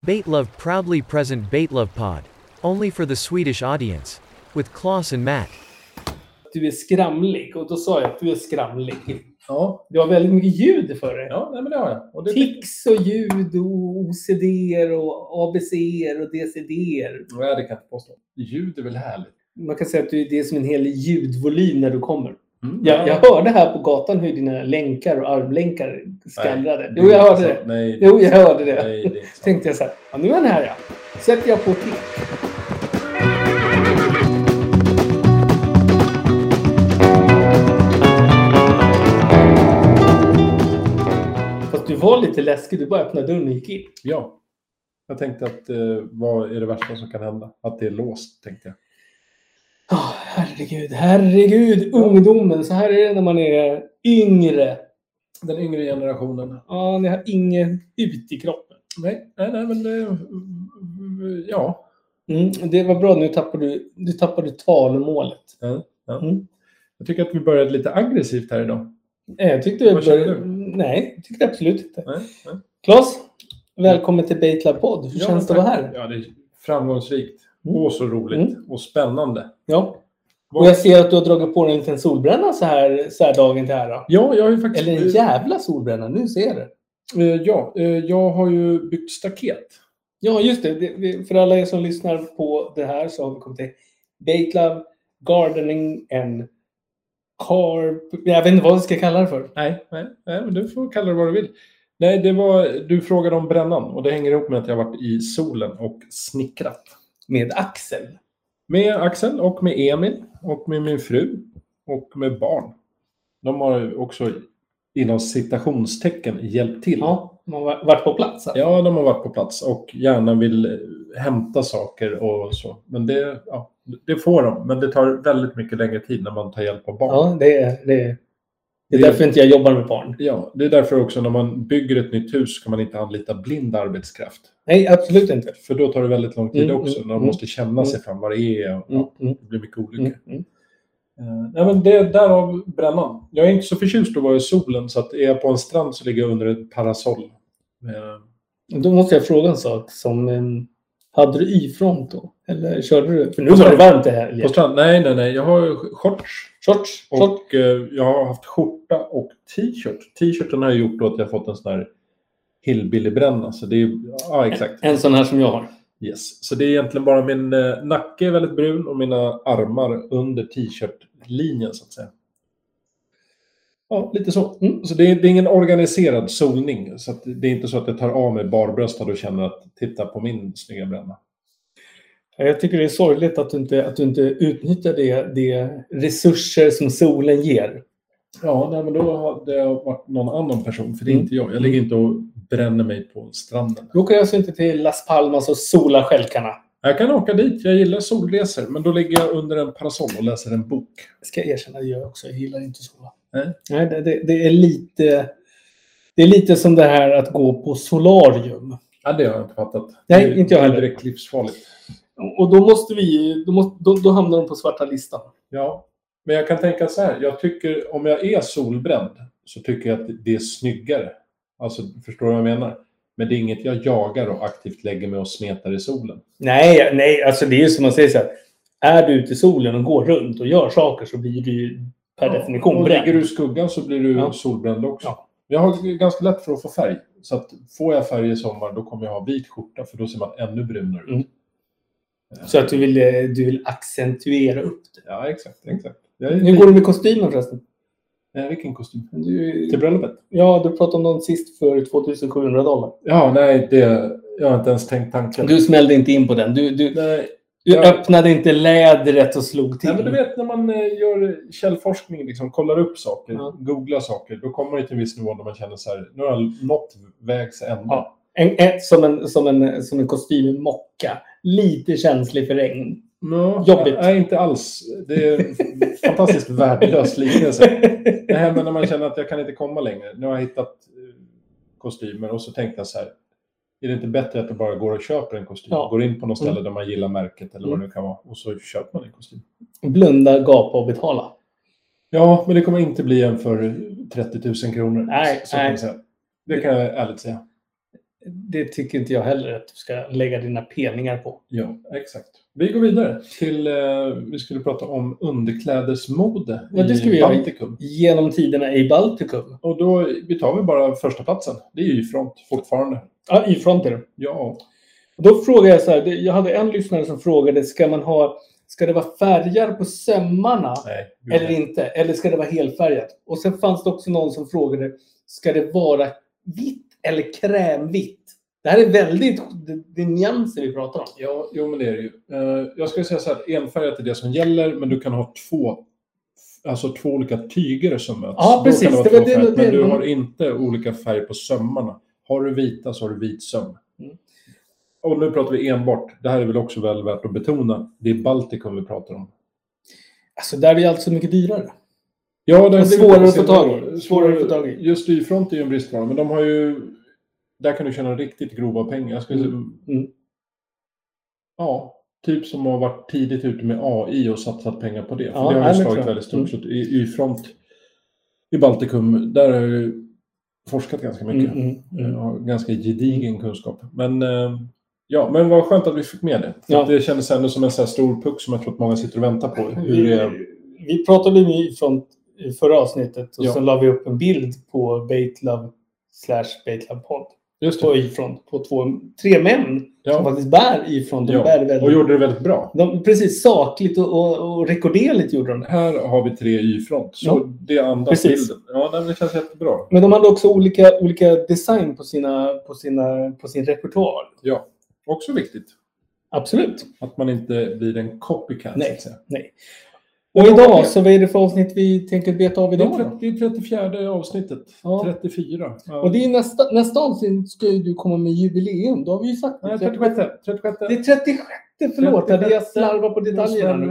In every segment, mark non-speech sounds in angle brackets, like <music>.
Baitlove proudly present Baitlove Pod. Only for the Swedish audience. With Klaus and Matt. du är skramlig. Och då sa jag att du är skramlig. Ja, Du har väldigt mycket ljud för dig. ja nej, men det har jag. Och det, Tics och ljud och OCD och ABC och DCD. Nej, det kan jag inte påstå. Ljud är väl härligt? Man kan säga att du- det är som en hel ljudvolym när du kommer. Mm, Jag, jag hörde här på gatan hur dina länkar och armlänkar skallrade. Nej, Jo, jag är hörde inte det. sant. Nej, Jo, jag hörde det. Nej, det är inte <laughs> sant. tänkte jag så här, ja, nu är den här ja. Sätter jag på tick. Fast du var lite läskig, du bara öppnade dörren och gick in. Ja. Jag tänkte att eh, vad är det värsta som kan hända? Att det är låst, tänkte jag. Oh, herregud, herregud, ungdomen. Så här är det när man är yngre. Den yngre generationen. Ja, ni har ingen ut i kroppen. Nej, nej, nej men eh, ja. Mm, det var bra, nu tappade du, du tappade talmålet. Ja, ja. Mm. Jag tycker att vi började lite aggressivt här idag. Nej, Eh, Jag tyckte... Vad kände du? Nej, jag tyckte absolut inte. Nej, nej. Klas, välkommen till Baitlab podd. Hur Ja, känns det tack. att vara här? Mm. Ja, det är framgångsrikt. Och så roligt. Och spännande. Ja. Vad- Och jag ser att du har dragit på dig en liten solbränna så här, så här dagen till ära. Ja, jag har ju faktiskt... Eller en jävla solbränna, nu ser jag det. eh, ja, eh, jag har ju byggt staket. Ja, just det. Det- det. För alla er som lyssnar på det här så har vi kommit till Baitlab Gardening and Car... Jag vet inte vad vi ska kalla det för. Nej, nej, nej, men du får kalla det vad du vill. Nej, det var, du frågade om brännan och det hänger ihop med att jag har varit i solen och snickrat. Med Axel. Med Axel och med Emil och med min fru och med barn. De har också inom citationstecken hjälpt till. Ja, man har varit på plats. alltså. Ja, de har varit på plats och gärna vill eh, hämta saker och så. Men det, ja, det får de. Men det tar väldigt mycket längre tid när man tar hjälp av barn. ja det, är, det, är, det är Det- därför inte jag jobbar med barn. Ja, det är därför också när man bygger ett nytt hus kan man inte anlita blind arbetskraft. Nej, absolut inte. För då tar det väldigt lång tid Mm, också. mm, när de mm. måste känna sig fram vad det är. Och, Mm, ja, mm, det blir mycket olyckor. mm, mm. Eh, nej, men det är därav brännan. Jag är inte så förtjust att vara i solen. Så att är jag på en strand så ligger jag under ett parasoll. Eh, Då måste jag fråga en sak. Som, em, hade du y-front då? Eller körde du? För nu var det varmt det här. på Elin. strand? Nej, nej, nej. Jag har shorts. Shorts, Och shorts. eh, jag har haft skjorta och t-shirt. T-shirten har ju gjort då att jag fått en sån här hillbillybränna. Så det är, ja, exakt. En sån här som jag har. Yes. Så det är egentligen bara min eh, nacke är väldigt brun och mina armar under t-shirtlinjen så att säga. Ja, lite så. Mm. Så det är, det är ingen organiserad solning. Så att det är inte så att jag tar av mig barbröstad och känner att titta på min snygga bränna. Jag tycker det är sorgligt att du inte, att du inte utnyttjar det, det resurser som solen ger. Ja, nej, men då hade jag varit någon annan person, för det är Mm. inte jag. Jag ligger inte och bränner mig på stranden. Då åker jag alltså inte till Las Palmas och solar stjälkarna. Jag kan åka dit, jag gillar solresor, men då ligger jag under en parasoll och läser en bok. Ska jag erkänna, det gör jag också. Jag gillar inte att sola. Nej. Nej, det, det, det är lite... Det är lite som det här att gå på solarium. Ja, det har jag inte fattat. Nej, Det är- inte jag Det heller. är direkt livsfarligt. Och då måste vi... Då, måste, då, då hamnar de på svarta listan. Ja, men jag kan tänka så här. Jag tycker, om jag är solbränd så tycker jag att det är snyggare. Alltså, förstår du vad jag menar? Men det är inget jag jagar och aktivt lägger mig och smetar i solen. Nej, nej, alltså det är ju som man säger så här. Är du ute i solen och går runt och gör saker så blir du ju per definition och ligger du i bränd. skuggan så blir du Ja. solbränd också. Ja. Jag har ganska lätt för att få färg. Så att får jag färg i sommar då kommer jag ha vit skjorta för då ser man ännu brunare ut. Mm. Så att du vill, eh, du vill accentuera upp det. Ja, exakt. exakt. Jag är Hur Mm. går det med kostymen förresten? Nej, vilken kostym? Du, Till bröllopet? ja, du pratade om den sist för 2700 dollar. Ja, nej, det, jag har inte ens tänkt tanken. Du smällde inte in på den. Du, du, nej, du Ja. öppnade inte lädret och slog till. nej, men du vet när man eh, gör källforskning, liksom, kollar upp saker, Ja. googlar saker, då kommer man ju till en viss nivå där man känner så här, nu har jag nått vägs ände. Ja. en, en, som, en, som, en, som en kostymmocka. Lite känslig för regn. <laughs> Nå, Jobbigt. Nej, inte alls. Det är en <laughs> fantastiskt värdelös liknelse. Nej, men när man känner att jag kan inte komma längre. Nu har jag hittat eh, kostymer och så tänkte jag så här, är det inte bättre att jag bara går och köper en kostym? Ja. Går in på något ställe Mm. där man gillar märket eller vad det nu kan vara och så köper man en kostym. Blunda, gapa och betala. Ja, men det kommer inte bli en för 30 000 kronor. Nej, så kan nej. jag säga. Det kan jag ärligt säga. det tycker inte jag heller att du ska lägga dina peningar på. Ja, exakt. Vi går vidare till, eh, vi skulle prata om underklädesmode Ja, det ska i vi göra. Baltikum. Genom tiderna i Baltikum. Och då, vi tar väl bara första platsen. Det är ju front fortfarande. Ja, i fronten. Ja, Då frågade jag så här, det- jag hade en lyssnare som frågade, ska man ha, ska det vara färgar på sömmarna nej. gud, eller nej. inte? Eller ska det vara helfärgat? Och sen fanns det också någon som frågade, ska det vara vitt eller krämvitt? Det här är väldigt, det, det är nyanser vi pratar om. Ja, jo, men det är det ju. Eh, jag skulle säga så här, enfärgat är det som gäller, men du kan ha två, alltså två olika tyger som möts. Ja, Då precis. kan Det Det var var det- tvåfärgat, det- men du det- har inte olika färg på sömmarna. Har du vita så har du vit söm. Mm. Och nu pratar vi enbart, det här är väl också väl värt att betona, det är Baltikum vi pratar om. Alltså där är det alltså mycket dyrare. Ja, det Men har blivit svårare på att få senare tag i. år. Svårare att få tag i. Just Y-front är ju en bristvara, men de har ju... Där kan du tjäna riktigt grova pengar. Jag skulle... säga- Mm. Ja, typ som har varit tidigt ute med AI och satsat pengar på det. För Ja, det nej, har men ju Mm. slagit klart. väldigt stort. Så i Y-front i Baltikum, där har jag ju forskat ganska mycket. Mm, mm, mm. Jag har ganska gedigen kunskap. Men, eh, ja, men vad skönt att vi fick med det. För Ja. att Det kändes ändå som en så här stor puck som jag tror att många sitter och väntar på. Hur det är. Vi pratade ju från i förra avsnittet och Ja. sen la vi upp en bild på Baitlove slash Baitlove-podd. Just det. På ifrån, på två, tre män som Ja. faktiskt bär ifrån. De bär Ja, väldigt, och gjorde det väldigt bra. de, precis sakligt och, och, och rekorderligt gjorde de det. Här har vi tre Y-front, så Ja. det andas Precis. bilden. Ja, nej, men det känns jättebra. Men de hade också olika, olika design på, sina, på, sina, på sin repertoar. Också viktigt Absolut. att man inte blir en copycat. Nej. så att säga. Och idag, så vad är det för avsnitt vi tänker beta av Det idag? är, Då? 30, det är 34 avsnittet. Ja. 34. Ja. Och det är nästa, nästa avsnitt ska ju du komma med jubileum. Då har vi ju sagt det. Nej, 36. 36. Det är 36, förlåt. Hade jag slarvat på detaljerna nu?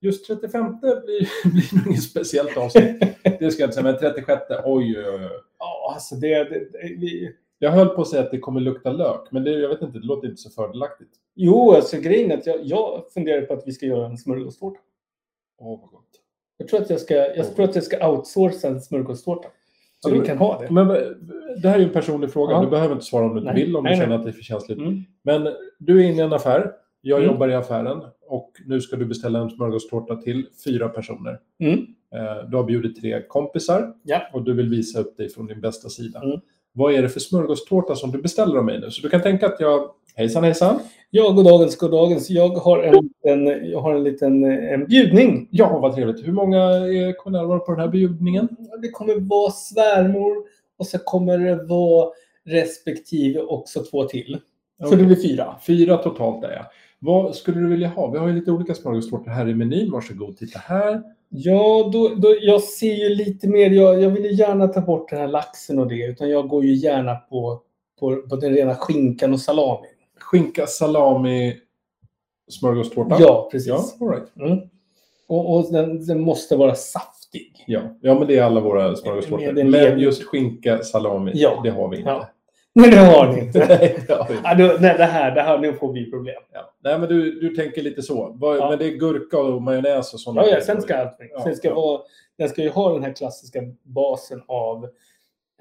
Just, just 35 blir, <laughs> blir nog inget speciellt avsnitt. det ska jag inte säga, men 36. Oj, oj, oj. Ja, alltså det... det, det vi... Jag höll på att säga att det kommer lukta lök, men det, jag vet inte, det låter inte så fördelaktigt. Jo, alltså grejen är att jag, jag funderar på att vi ska göra en smörgåstårta. Åh, vad gott. Jag tror att jag ska, jag tror att jag ska outsourca en smörgåstårta. Så Ja, vi det- kan ha det. Men eh, det här är ju en personlig fråga. Ja. Du behöver inte svara om du inte Nej. vill, om du Nej, nej. känner att det är för känsligt. Mm. Men du är inne i en affär. Jag Mm. jobbar i affären och nu ska du beställa en smörgåstårta till fyra personer. Mm. Eh, Du har bjudit tre kompisar Ja. och du vill visa upp dig från din bästa sida. Mm. Vad är det för smörgåstårta som du beställer av mig nu? Så du kan tänka att jag... Hejsan, hejsan. Ja, goddagens, goddagens. Jag har en liten, jag har en liten eh, en bjudning. Ja, vad trevligt. Hur många eh, kommer närvara på den här bjudningen? Det kommer vara svärmor och så kommer det vara respektive också två till. Så Okej. det blir fyra. Fyra totalt är jag. Vad skulle du vilja ha? Vi har ju lite olika smörgåstårtor här i menyn. Varsågod, titta här. Ja, då, då, jag ser ju lite mer. Jag, jag vill ju gärna ta bort den här laxen och det. Utan jag går ju gärna på, på, på den rena skinkan och salamin. Skinka, salami, smörgåstårta. Ja, precis. Ja, all right. Mm. Och, och den, den måste vara saftig. <laughs> ja. ja, men det är alla våra smörgåstårtor. Det är en Men levande- just skinka, salami, Ja. det har vi inte. Ja. Nej, det har ni inte. <laughs> Nej, det har vi inte. Ja, då, nej, det här, det här, nu får vi problem. Ja. Nej, men du, du tänker lite så. Vad- Ja. Men det är gurka och majonnäs och sådana Ja, ja, grejer. sen ska allt Ja, sen ska ja. vara, Den ska ju ha den här klassiska basen av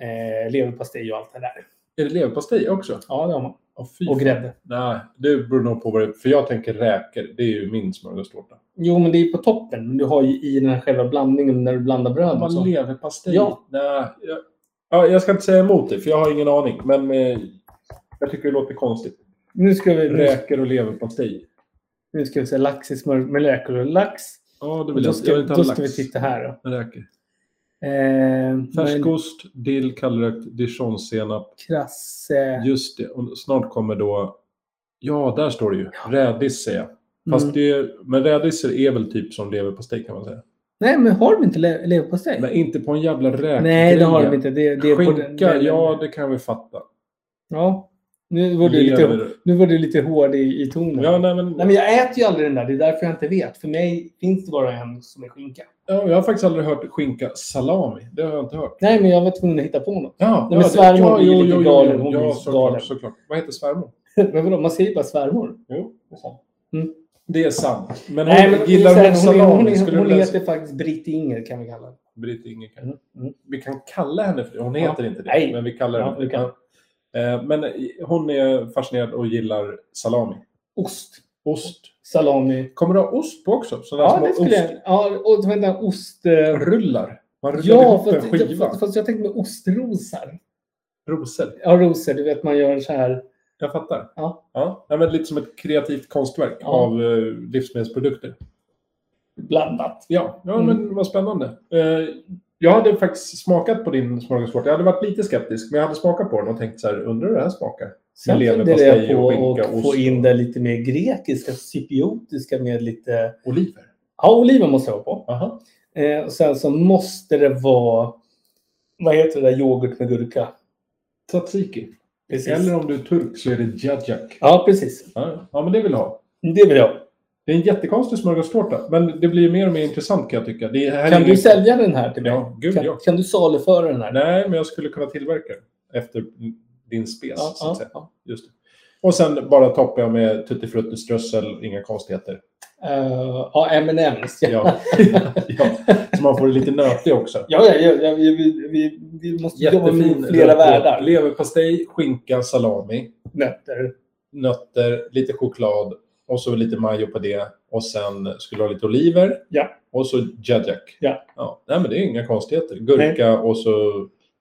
eh, leverpastej och allt det där. Är det leverpastej också? Ja, det har man. Åh, fy Och fan. grädde. Nej, det beror nog på vad det är. För jag tänker räkor. Det är ju min smörgåstårta. Jo, men det är ju på toppen. Men Du har ju i den här själva blandningen när du blandar bröd och Vad så. leverpastej? Ja. Nej, jag, ja, jag ska inte säga emot dig, för jag har ingen aning. Men eh, jag tycker det låter konstigt. Nu ska vi, nu, Räkor och leverpastej. nu ska vi säga lax i smör med räkor och lax. Ja, det Och vill Då jag. ska, jag vill inte ha då ska vi lax. titta här. Då. Räkor. Eh, men Färskost, dill, kallrökt, dijonsenap. krasse. Just det. Och snart kommer då... Ja, där står det ju. Rädis säger jag. Fast Mm. det, men rädisor är väl typ som leverpastej kan man säga. Nej, men har de inte le- leverpastej? Men inte på en jävla räkgrej. Nej, det har de inte. Det, det är på den, Skinka, den- ja det kan vi fatta. ja. Nu var du lite, Lever. nu var du lite hård i, i tonen. Ja, nej, men, Nej, men jag äter ju aldrig den där. Det är därför jag inte vet. För mig finns det bara en som är skinka. ja, jag har faktiskt aldrig hört skinka salami. Det har jag inte hört. Nej, men jag var tvungen att hitta på något. <laughs> Ja, men svärmor blir lite galen. Hon blir ja, ju galen. såklart, såklart. Vad heter svärmor? Men vadå, man säger ju bara svärmor. Jo, det är sant. Mm. Det är sant. Men, Nej, hon, men gillar så här, hon salami? Hon, hon, Skulle hon, du vilja- heter faktiskt Britt-Inger, kan vi kalla henne. Britt Inger kanske. Mm. Mm. Vi kan kalla henne för det. Hon heter inte det. Nej. Men vi kallar Ja, henne vi kan. Ja. Eh, Men hon är fascinerad och gillar salami. Ost, Ost. salami. Kommer du ha ost på också? Sådana Ja, små det skulle ost- jag. Ja, och vänta, ost... eh, Rullar. Man rullar Ja, ihop en fast, skiva. fast, fast jag tänkte med ostrosar. Rosor. Ja, rosor. Du vet, man gör så här. Jag fattar. Ja. Ja. Nej, men lite som ett kreativt konstverk Ja. av eh, livsmedelsprodukter. Blandat. Ja, ja Mm. men vad spännande. Eh, jag hade faktiskt smakat på din smörgåstårta. Jag hade varit lite skeptisk, men jag hade smakat på den och tänkt så här, undrar hur det här smakar? Sen Leverpastej funderar jag på och skinka, att ost få och- in det lite mer grekiska, cypriotiska med lite... Oliver. Ja, oliver måste jag ha på. Aha. Eh, och sen så måste det vara... Vad heter det där yoghurt med gurka? Tzatziki. Precis. Eller om du är turk så är det djajak. Ja, precis. Ja, ja, men det vill jag ha. Det vill jag. Det är en jättekonstig smörgåstårta, men det blir ju mer och mer intressant kan jag tycka. Det här är Kan ingen- du sälja den här till mig? Ja, gud ja. Kan, kan du saluföra den här? Nej, men jag skulle kunna tillverka den efter din spes. Ja, så att ja, säga. ja. Just det. Och sen bara toppar jag med tuttifruttiströssel, inga konstigheter. Eh, ja, M&M's. Ja. Ja. <laughs> ja. Så man får det lite nötig också. Ja, ja, ja, ja vi, vi, vi, vi måste jobba Jättefin med flera rödbeta. världar. Leverpastej, skinka, salami, Nötter. nötter, lite choklad och så lite majo på det. Och sen skulle jag ha lite oliver. Ja. Och så jajak. Ja. ja. Nej, men det är inga konstigheter. Gurka och så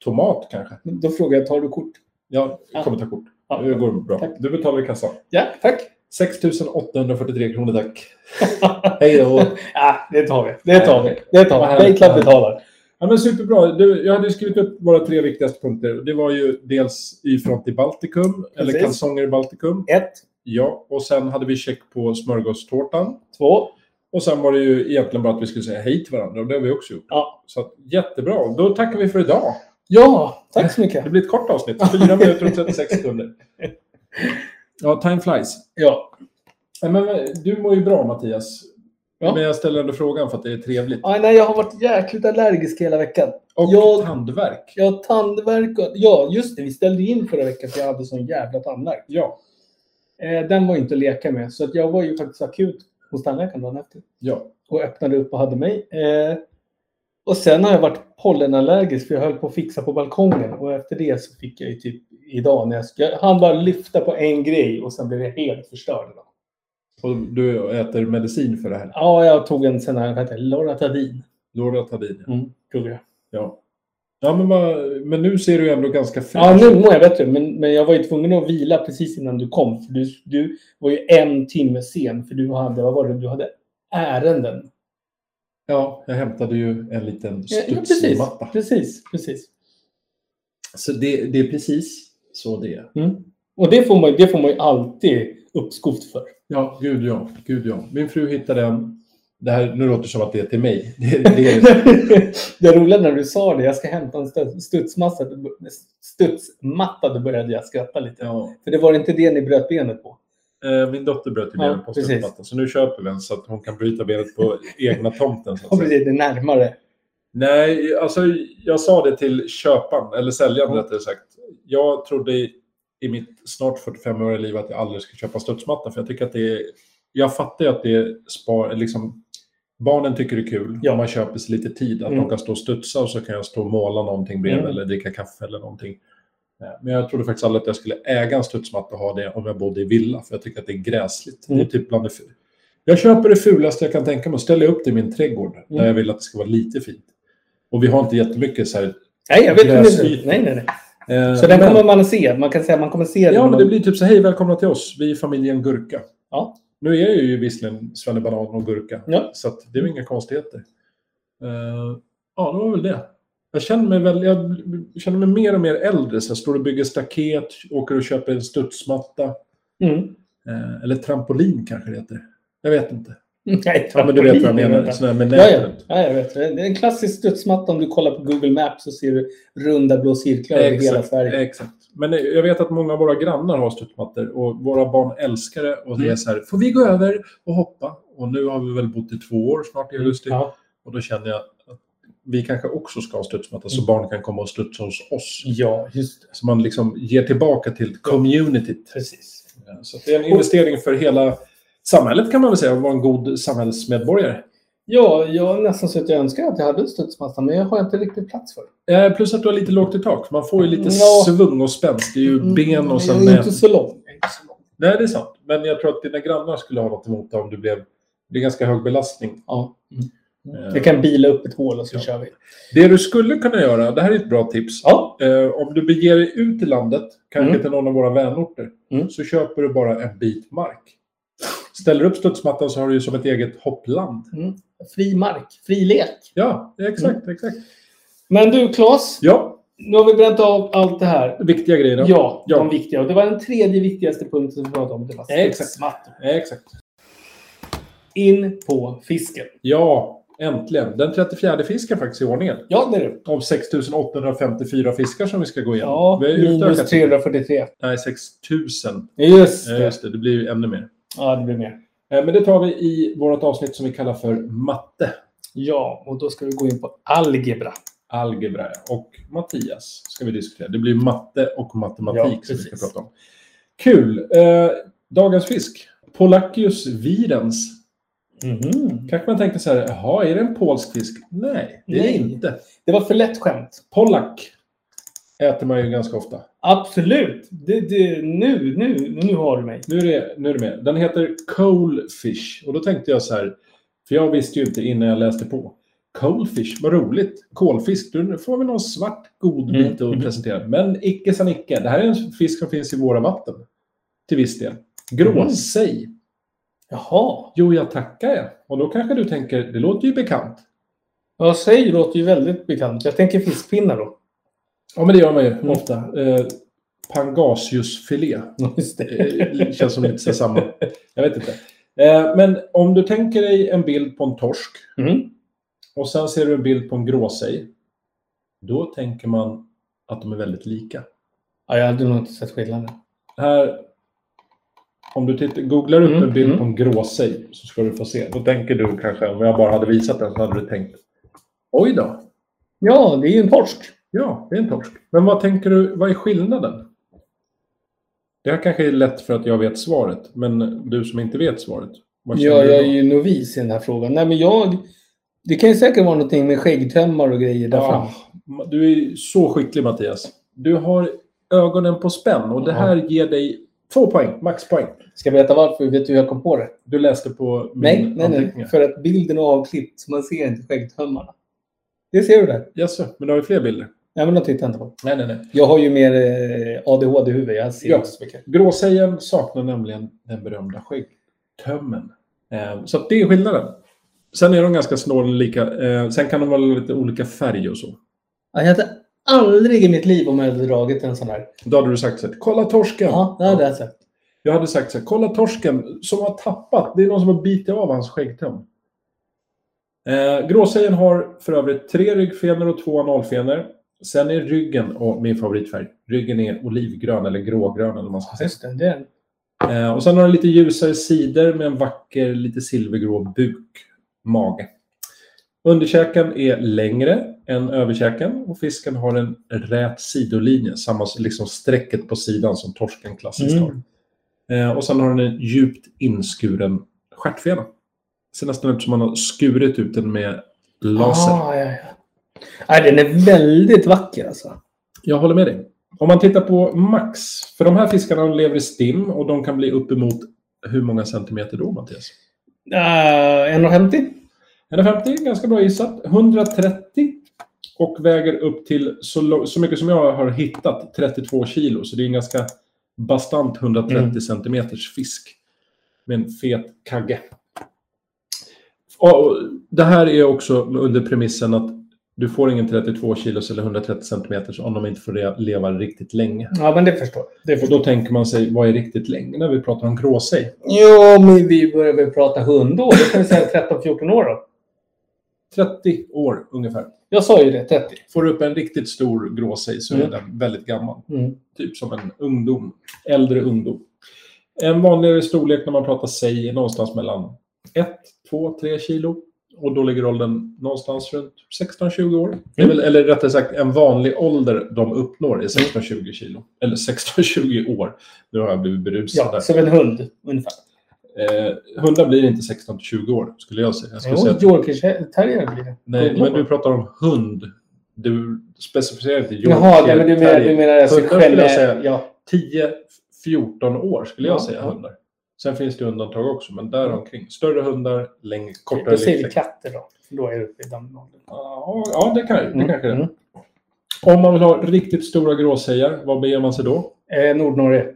tomat kanske. Då frågar jag, tar du kort? Ja, Ja. kommer ta kort. Ja. Det går bra. Tack. Du betalar i kassan. Ja, tack. <laughs> 6 843 kronor tack. Hej då. ja, det tar vi. Det tar vi. Det Vad tar vi. härligt. Baitlab betalar. Ja, men superbra. Du, jag hade ju skrivit upp våra tre viktigaste punkter. Det var ju dels Y-front i Baltikum, eller Precis. kalsonger i Baltikum. Ett, Ja, och sen hade vi check på smörgåstårtan. två. Och sen var det ju egentligen bara att vi skulle säga hej till varandra och det har vi också gjort. Ja. Så att, jättebra. Då tackar vi för idag. Ja, tack så mycket. Det blir ett kort avsnitt. <laughs> 4 minuter och 36 sekunder. Ja, time flies. Ja. Nej, men, du mår ju bra Mattias. Ja. Men jag ställer ändå frågan för att det är trevligt. Aj, nej, jag har varit jäkligt allergisk hela veckan. Och Jag- tandvärk. Jag har tandvärk och... Ja, just det. Vi ställde in förra veckan för jag hade sån jävla tandvärk. Ja. Eh, den var inte att leka med. Så att jag var ju faktiskt akut hos tandläkaren dagen efter. ja. och öppnade upp och hade mig. Eh, och sen har jag varit pollenallergisk för jag höll på att fixa på balkongen och efter det så fick jag ju typ idag när jag, sk- jag hann bara lyfta på en grej och sen blev jag helt förstörd. Idag. Och du äter medicin för det här. Ja, jag tog en sån här, vad heter det, Loratadin. Loratadin. Mm, tog jag. Ja. Ja, men, vad- men nu ser du ju ändå ganska fräsch Ja, nu mår jag bättre men, men jag var ju tvungen att vila precis innan du kom. För du, du var ju en timme sen för du hade, vad var det, du hade ärenden. Ja, jag hämtade ju en liten Ja, ja, precis, studsmatta. precis, precis. Så det, det är precis så det är. Mm. Och det får, man, ju- det får man ju alltid uppskov för. <laughs> Ja, gud ja. Gud ja. Min fru hittade en... Det här, nu låter det som att det är till mig. Det, <laughs> det är, det roliga när du sa det, jag ska hämta en stud- studsmassa, studsmatta, då började jag skratta lite. ja. För det var inte det ni bröt benet på. Eh, Min dotter bröt ju Ja, benet på precis. studsmattan. Så nu köper vi en så att hon kan bryta benet <laughs> på egna tomten. Så att Och säga. precis, det är närmare. Nej, alltså jag sa det till köparen, eller säljaren Mm. rättare sagt. Jag trodde i, i mitt snart 45-åriga liv att jag aldrig skulle köpa studsmatta. För jag tycker att det är... Jag fattar ju att det spar... Liksom, barnen tycker det är kul. Ja. Ja. Man köper sig lite tid. Att Mm. de kan stå och studsa och så kan jag stå och måla någonting bredvid Mm. eller dricka kaffe eller någonting. Eh, Men jag trodde faktiskt aldrig att jag skulle äga en studsmatta och ha det om jag bodde i villa. För jag tycker att det är gräsligt. Mm. Det är typ bland det fu- jag köper det fulaste jag kan tänka mig och ställer upp det i min trädgård. Mm. Där jag vill att det ska vara lite fint. Och vi har inte jättemycket så här. Nej, jag vet inte. Gräsyta. Nej, nej, nej. Eh, Så den men- kommer man att se. Man kan säga att man kommer att se den. Ja, men det blir typ så hej välkomna till oss. Vi är familjen Gurka. Ja. Nu är jag ju visserligen svennebanan och Gurka. Ja. Så att det är ju inga konstigheter. Eh, ja, det var väl det. Jag känner mig, väl, jag känner mig mer och mer äldre. Så jag står och bygger staket, åker och köper en studsmatta. Mm. Eh, eller trampolin kanske det heter. Jag vet inte. Nej, Ja, men du vet vad jag trampolin, menar. vänta. Sån här med Ja, ja. nätet. ja, jag vet. Det är en klassisk studsmatta. Om du kollar på Google Maps så ser du runda blå cirklar över hela Sverige. Exakt. Men eh, jag vet att många av våra grannar har studsmattor och våra barn älskar det. Och det är Mm. så här, får vi gå över och hoppa? Och nu har vi väl bott i två år snart i augusti. Mm, Ja. Och då känner jag att vi kanske också ska ha en studsmatta så Mm. barn kan komma och studsa hos oss. ja, just det. Så man liksom ger tillbaka till communityt. Precis. Ja, Så att det är en investering för hela samhället kan man väl säga, att vara en god samhällsmedborgare. Ja, jag är nästan så att jag önskar att jag hade en studsmatta, men jag har inte riktigt plats för. Eh, plus att du har lite lågt i tak. Man får ju lite Ja. svung och spänst. Det är ju ben och sen Mm, Jag är nät. inte så lång. Jag är inte så lång. Nej, det är sant. Men jag tror att dina grannar skulle ha något emot dig om du blev... Det är ganska hög belastning. Ja. Eh, Jag kan bila upp ett hål och så Ja. kör vi. Det du skulle kunna göra, det här är ett bra tips. Ja. Eh, om du beger dig ut i landet, kanske Mm. till någon av våra vänorter, Mm. så köper du bara en bit mark. Ställer du upp studsmattan så har du ju som ett eget hoppland. Fri mark, fri lek. Ja, exakt, Mm. exakt. Men du Claes, Ja, nu har vi bränt av allt det här. viktiga grejer. då. Ja, Ja. de viktiga. Och det var den tredje viktigaste punkten som vi pratade om. Det var Exakt. studsmattor. Eh, exakt. In på fisken. Ja, äntligen. Den 34 fisken faktiskt i ordningen. Ja, det är det. Av 6854 fiskar som vi ska gå igenom. Ja, vi har minus utökat. 343. Nej, 6000. Just Ja, det. just det. Det blir ju ännu mer. Eh, Ja, det blir mer. Eh, Men det tar vi i vårt avsnitt som vi kallar för matte. Ja, och då ska vi gå in på algebra. algebra och Mattias ska vi diskutera. Det blir matte och matematik Ja, som vi ska precis. prata om. Kul! Eh, dagens fisk. Polaccius virens. Mhm. Kanske man tänker så här, jaha, är det en polsk fisk? Nej, det är det Nej. inte. Det var för lätt skämt. Pollack äter man ju ganska ofta. Absolut. Det, det, nu, nu, nu har du mig. Nu är, det, nu är det med. Den heter Coalfish. Och då tänkte jag så här, för jag visste ju inte innan jag läste på. Coalfish, vad roligt. Kolfisk, då får vi någon svart god bit Mm. att presentera. Men icke san icke. Det här är en fisk som finns i våra vatten. Till viss del. Gråsej. Jaha. Jo, jag tackar jag. Och då kanske du tänker, det låter ju bekant. Ja, säg låter ju väldigt bekant. Jag tänker fiskpinnar då. <laughs> Ja, men det gör man ju ofta. Mm. Eh, Pangasiusfilé. Just Eh, <laughs> känns som lite så här samma. Jag vet inte. Eh, Men om du tänker dig en bild på en torsk Mm. och sen ser du en bild på en gråsej. Då tänker man att de är väldigt lika. Ja, jag hade nog inte sett skillnaden. Här, om du tittar, googlar upp Mm, en bild mm. på en gråsej så ska du få se. Då tänker du kanske, om jag bara hade visat den så hade du tänkt Oj då, Ja, det är ju en torsk. ja det är en torsk. Men vad tänker du, vad är skillnaden? Det här kanske är lätt för att jag vet svaret, men du som inte vet svaret. Vad känner Ja, du jag då? är ju novis i den här frågan. Nej, men jag... Det kan ju säkert vara någonting med skäggtömmar och grejer där fram. Ja, du är så skicklig Mattias. Du har ögonen på spänn och det här ger dig två poäng, maxpoäng. Ska jag berätta varför? Vet du hur jag kom på det? Du läste på min Nej, nej, nej. anteckningar. För att bilden är avklippt så man ser inte skäggtömmarna. Det ser du där. Jaså, men du har ju fler bilder. Nej, men de tittar jag inte på. Nej, nej, nej. Jag har ju mer eh, ADHD-huvud. Jag ser Ja. inte så mycket. Gråsägaren saknar nämligen den berömda skäggtömmen. Eh, Så att det är skillnaden. Sen är de ganska snållika. Eh, Sen kan de vara lite olika färg och så. Ja, Jag hade aldrig i mitt liv om jag hade dragit en sån här. Då hade du sagt så här, kolla torsken. Ja, det hade jag sett. Jag hade sagt så här, kolla torsken som har tappat. Det är någon som har bitit av hans skäggtöm. Eh, gråsägen har för övrigt tre ryggfenor och två analfenor. Sen är ryggen, och min favoritfärg, ryggen är olivgrön eller grågrön eller vad man ska säga. Just det, det är den. Eh, och sen har den lite ljusare sidor med en vacker lite silvergrå bukmage. Underkäken är längre än överkäken och fisken har en rät sidolinje, samma s- liksom strecket på sidan som torsken klassiskt Mm. har. Eh, och sen har den en djupt inskuren stjärtfena. Ser nästan ut som man har skurit ut den med laser. Ah, ja, ja. Nej, den är väldigt vacker alltså. Jag håller med dig. Om man tittar på max, för de här fiskarna lever i stim och de kan bli uppemot hur många centimeter då, Mattias? Uh, 1,50? 150, ganska bra gissat. 130 och väger upp till så, lo- så mycket som jag har hittat, 32 kilo. Så det är en ganska bastant 130 Mm. centimeters fisk med en fet kagge. Och och det här är också under premissen att du får ingen 32 kilos eller 130 centimeters om de inte får re- leva riktigt länge. Ja, men det förstår jag. Det Och förstår. då tänker man sig, vad är riktigt länge när vi pratar om gråsej? Jo, men vi börjar väl prata hundår. Då kan vi säga 13-14 år då. 30 år ungefär. Jag sa ju det, 30. Får du upp en riktigt stor gråsej så är Mm. den väldigt gammal. Mm. typ som en ungdom, äldre ungdom. En vanligare storlek när man pratar sig är någonstans mellan 1, 2, 3 kilo. Och då ligger åldern någonstans runt 16-20 år. Det Mm. är väl, eller rättare sagt, en vanlig ålder de uppnår är 16-20 kilo. Eller 16-20 år. Nu har jag blivit berusad Ja, där. som en hund ungefär. Eh, hundar blir inte 16 till 20 år, skulle jag säga. Jag skulle säga Jo, att- Yorkshire terrier blir det. nej, Hundar. men du pratar om hund. Du specificerar inte Jaha, nej, men du menar, du terrier. menar alltså Hundar skulle jag generellt- säga. Ja. 10-14 år skulle jag Ja, säga ja. hundar. Sen finns det undantag också, men däromkring. Större hundar, längre, kortare Då säger vi livslängd. katter då. för Då är det uppe i den åldern. Ja, ja, det, kan, det Mm, kanske det är. mm. Om man vill ha riktigt stora gråsägar, vad beger man sig då? Eh, Nordnorge.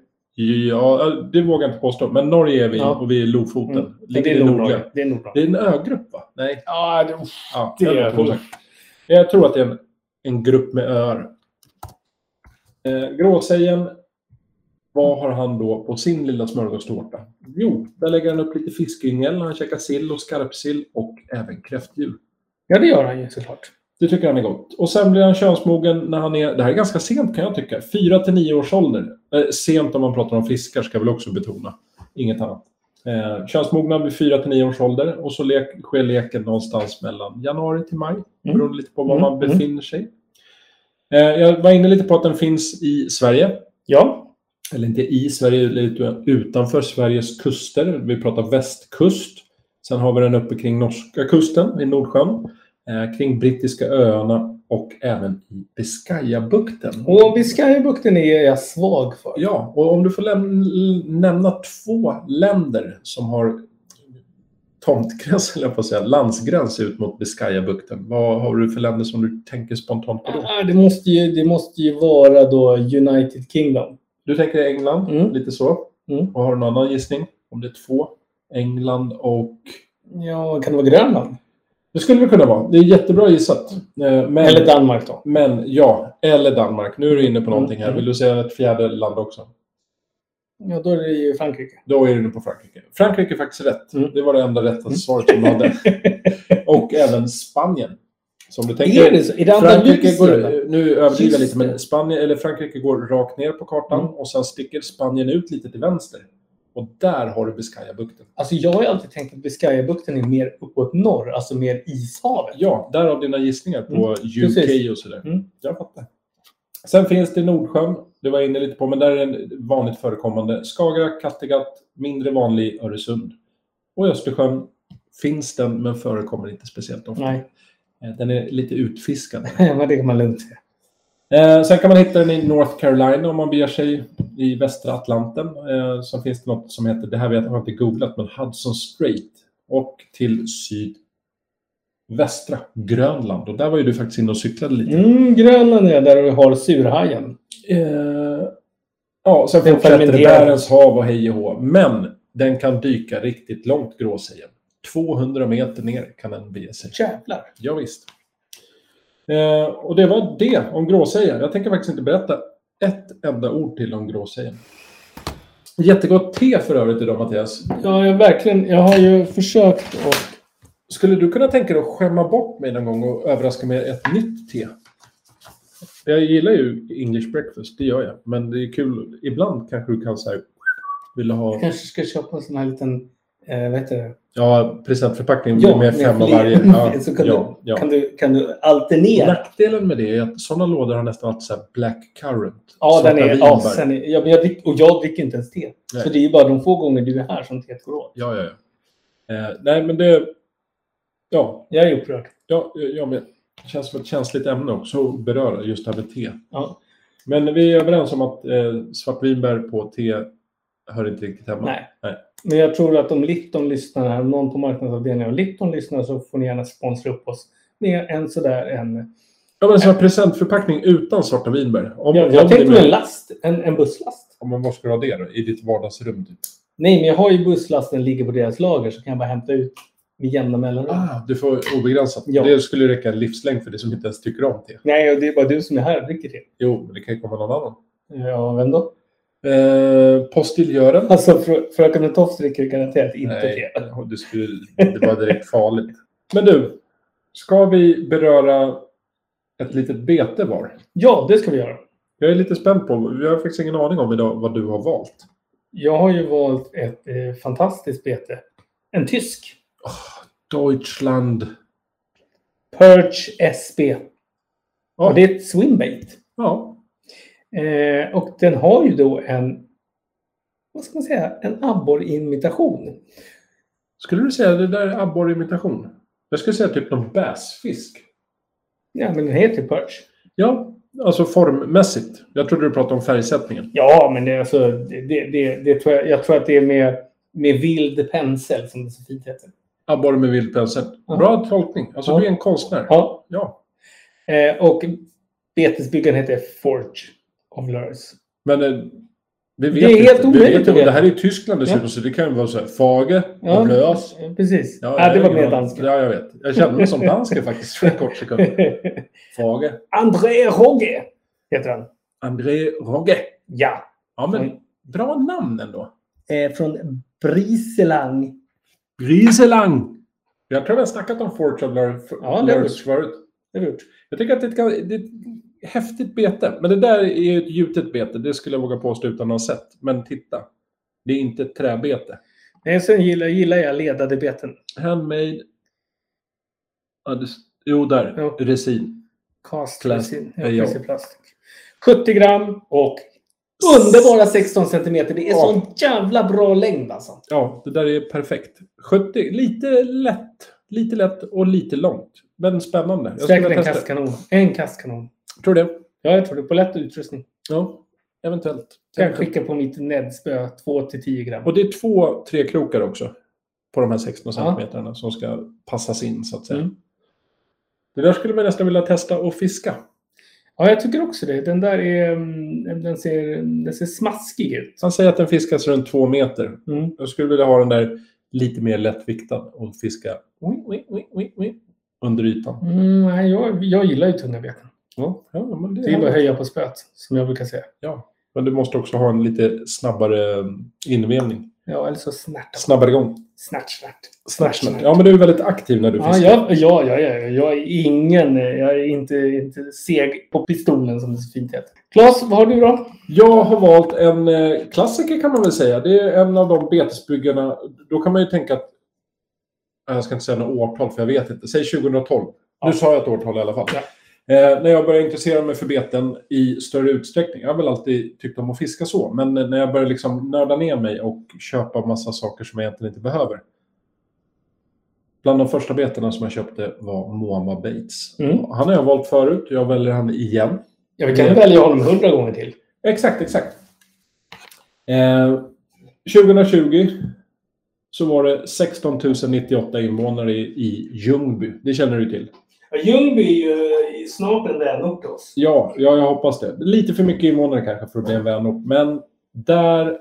Ja, det vågar jag inte påstå, men Norge är vi Ja. och vi är i Lofoten. Mm. Ligger det i är Nordliga. Nordnorge. Det är Nordnorge. Det är en ögrupp, va? Nej. Ja, det, Ja, Det är jag, tror det. det. jag tror att det är en, en grupp med öar. Eh, Gråsägen, vad har han då på sin lilla smörgåstårta? Jo, där lägger han upp lite fiskyngel. Han käkar sill och skarpsill och även kräftdjur. ja, det gör han ju såklart. Det tycker han är gott. Och sen blir han könsmogen när han är, det här är ganska sent kan jag tycka, 4 till 9 års ålder. Eh, sent om man pratar om fiskar ska jag väl också betona. Inget annat. Eh, könsmogna vid 4 till 9 års ålder och så lek, sker leken någonstans mellan januari till maj. Beroende lite på var Mm, man mm. befinner sig. Eh, jag var inne lite på att den finns i Sverige. Ja. Eller inte i Sverige, lite utanför Sveriges kuster. Vi pratar västkust. Sen har vi den uppe kring norska kusten, i Nordsjön. Eh, kring brittiska öarna och även i Biscayabukten. Och Biscayabukten är jag svag för. Ja, och om du får läm- l- nämna två länder som har tomtgräns, <laughs> eller jag på att säga, landsgräns ut mot Biscayabukten. Vad har du för länder som du tänker spontant på då? Ah, det, måste ju, det måste ju vara då United Kingdom. Du tänker England, Mm. lite så. Mm. Och har du någon annan gissning? Om det är två? England och Ja, kan det vara Grönland? Det skulle det kunna vara. Det är jättebra gissat. Eh, Men, Eller Danmark då. men ja, eller Danmark. Nu är du inne på någonting här. Mm. Vill du säga ett fjärde land också? Ja, då är det ju Frankrike. Då är du inne på Frankrike. Frankrike är faktiskt rätt. Mm. Det var det enda rätta svaret som <laughs> du hade. Och även Spanien. Som du tänker. är det så? Är det Frankrike Andalusien? går, nu överdriver jag Just lite, men det. Spanien, eller Frankrike går rakt ner på kartan Mm. och sen sticker Spanien ut lite till vänster. Och där har du Biscayabukten. Alltså, jag har ju alltid tänkt att Biscayabukten är mer uppåt norr, alltså mer ishavet. Ja, därav dina gissningar på Mm, UK precis. och sådär. Mm. Jag fattar. Sen finns det Nordsjön, du var inne lite på, men där är den vanligt förekommande. Skagerrak, Kattegatt, mindre vanlig Öresund. Och i Östersjön finns den, men förekommer inte speciellt ofta. Nej, <laughs> Eh, Den är lite utfiskad. men det kan man lugnt säga. Eh, sen kan man hitta den i North Carolina om man beger sig i västra Atlanten. Eh, sen finns det något som heter, det här vet jag har jag inte googlat, men Hudson Strait. Och till sydvästra Grönland. Och där var ju du faktiskt inne och cyklade lite. Mm, Grönland är där du har surhajen. Eh, ja, sen Den fortsätter det fermenterade. världens hav och hej och hå. Men den kan dyka riktigt långt, gråsägen. 200 meter ner kan den bege sig. Jävlar. Ja, visst. Eh, och det var det om gråsägen. Jag tänker faktiskt inte berätta ett enda ord till om gråsägen. Jättegott te för övrigt idag, Mattias. Ja, jag, verkligen. Jag har ju försökt att... Skulle du kunna tänka dig att skämma bort mig någon gång och överraska med ett nytt te? Jag gillar ju English breakfast, det gör jag. Men det är kul, ibland kanske du kan säga vill du Jag ha kanske ska köpa en sån här liten... Eh, vad heter det? ja, presentförpackning ja, med fem av fler. varje. <laughs> Ja, Så kan, ja, du, ja. Kan, du, kan du alternera? Nackdelen med det är att sådana lådor har nästan alltid så här black currant. Ja, svarta den är, vinbär. ja, sen är, ja, men jag drick, och jag dricker inte ens te. Nej. Så det är ju bara de få gånger du är här som teet går åt. Ja, ja, ja. Eh, nej, men det... Ja, Jag är upprörd. ja, ja men det känns som ett känsligt ämne också att beröra, just det här med te. Ja. Men vi är överens om att eh, svartvinbär på te hör inte riktigt hemma. Nej. Nej. Men jag tror att om Lipton lyssnar här, om någon på marknadsavdelningen av Lipton lyssnar så får ni gärna sponsra upp oss med en sådär en... Ja, men så här presentförpackning utan svarta vinbär. Om, Jag, om jag det tänkte är med en möjligt. last, en, en busslast. Ja, men var ska du ha det då? I ditt vardagsrum? Typ. Nej, men jag har ju busslasten ligger på deras lager så kan jag bara hämta ut med jämna mellanrum. Ah, du får obegränsat. Ja. Det skulle ju räcka en livslängd för dig som inte ens tycker om te. Nej, och det är bara du som är här och dricker te. Jo, men det kan ju komma någon annan. Ja, vem då? Eh, postiljören. Alltså, frö, fröken Tofs dricker garanterat inte Nej, te. det, skulle, det var direkt farligt. Men du, ska vi beröra ett litet bete var? Ja, det ska vi göra. Jag är lite spänd på, vi har faktiskt ingen aning om idag vad du har valt. Jag har ju valt ett eh, fantastiskt bete. En tysk. Deutschland. Perch SB. Ja. Och det är ett swimbait. Ja, Eh, och den har ju då en vad ska man säga, en abborrimitation. Skulle du säga det där är abborrimitation? Jag skulle säga typ någon bassfisk. Ja, men den heter ju perch. Ja, alltså formmässigt. Jag trodde du pratade om färgsättningen. Ja, men det, är alltså, det, det, det, det tror jag, jag tror att det är med, med vild pensel som det så fint heter. Abborre med vild pensel. Ja. Bra tolkning. Alltså Ja. du är en konstnär. Ja, Ja. eh, och betesbyggaren heter Forge of Lurs. Men eh, vi vet Det är inte. helt Vi omöjligt vet att ju- veta. Det här är ju Tyskland dessutom, Ja. så det kan ju vara så här fage Ja. och blös. Eh, Precis. Ja, jag har det var ingen mer aning. danska. Ja, jag vet. Jag kände mig som dansk faktiskt för en kort sekund. Fage. <laughs> André Rogge heter han. André Rogge. Ja. Ja, Mm. men bra namn ändå. Eh, från Briselang. Griselang. Jag tror vi har snackat om Fortune Ja, det har vi. förut. Det har vi gjort. Jag tycker att det är, ett, ganska- det är ett häftigt bete. Men det där är ju ett gjutet bete. Det skulle jag våga påstå utan att ha sett. Men titta. Det är inte ett träbete. Nej, Eh, sen gillar, gillar jag ledade beten. Handmade. Ja, det, jo, där. Ja. Resin. Cast Plast. resin. Eh, ja. Ja, precis, plast. 70 gram och underbara 16 centimeter. Det är Ja. sån jävla bra längd alltså. Ja, det där är perfekt. 70. Lite lätt. Lite lätt och lite långt. Men spännande. Jag skulle Säkert vilja en testa. kastkanon. En kastkanon. Tror det. Ja, jag tror det. På lätt utrustning. Ja, eventuellt. Kan jag skicka på mitt nedspö 2-10 gram. Och det är två trekrokar också på de här 16 Ja. centimeterna som ska passas in så att säga. Mm. Det där skulle man nästan vilja testa och fiska. Ja, jag tycker också det. Den där är, mm, den ser, den ser smaskig ut. Han säger att den fiskas runt två meter. Mm. Jag skulle vilja ha den där lite mer lättviktad och fiska oi, oi, oi, oj, oj, under ytan. Mm, nej, jag, jag gillar ju tunga beten. Ja, ja, men, det Det är bara att är höja på spöet, som jag brukar säga. ja. men du måste också ha en lite snabbare eh, invävning. Ja, eller så snärt. Snabbare gång. Snärt, snärt. Snart, snart. Ja, men du är väldigt aktiv när du Ja, fiskar. ja, ja, ja, ja, jag är ingen, eh, jag är inte, inte seg på pistolen som det så fint heter. Claes, vad har du då? Jag har valt en eh, klassiker kan man väl säga. Det är en av de betesbyggarna. Då kan man ju tänka att... Nej, Jag ska inte säga något årtal för jag vet inte. Säg 2012. Ja. Nu sa jag ett årtal i alla fall. Eh, när jag började intressera mig för beten i större utsträckning. Jag har väl alltid tyckt om att fiska så. Men eh, när jag började liksom nörda ner mig och köpa massa saker som jag egentligen inte behöver. Bland de första betena som jag köpte var Moama Bates. Mm. Han har jag valt förut. Jag väljer han igen. Ja, vi kan ju välja honom hundra gånger till. Exakt, exakt. Eh, 2020 så var det 16 098 invånare i, i Ljungby. Det känner du till? Ljungby är ju snart en vänort till oss. Ja, ja, jag hoppas det. Lite för mycket invånare kanske för att bli en vänort. Men där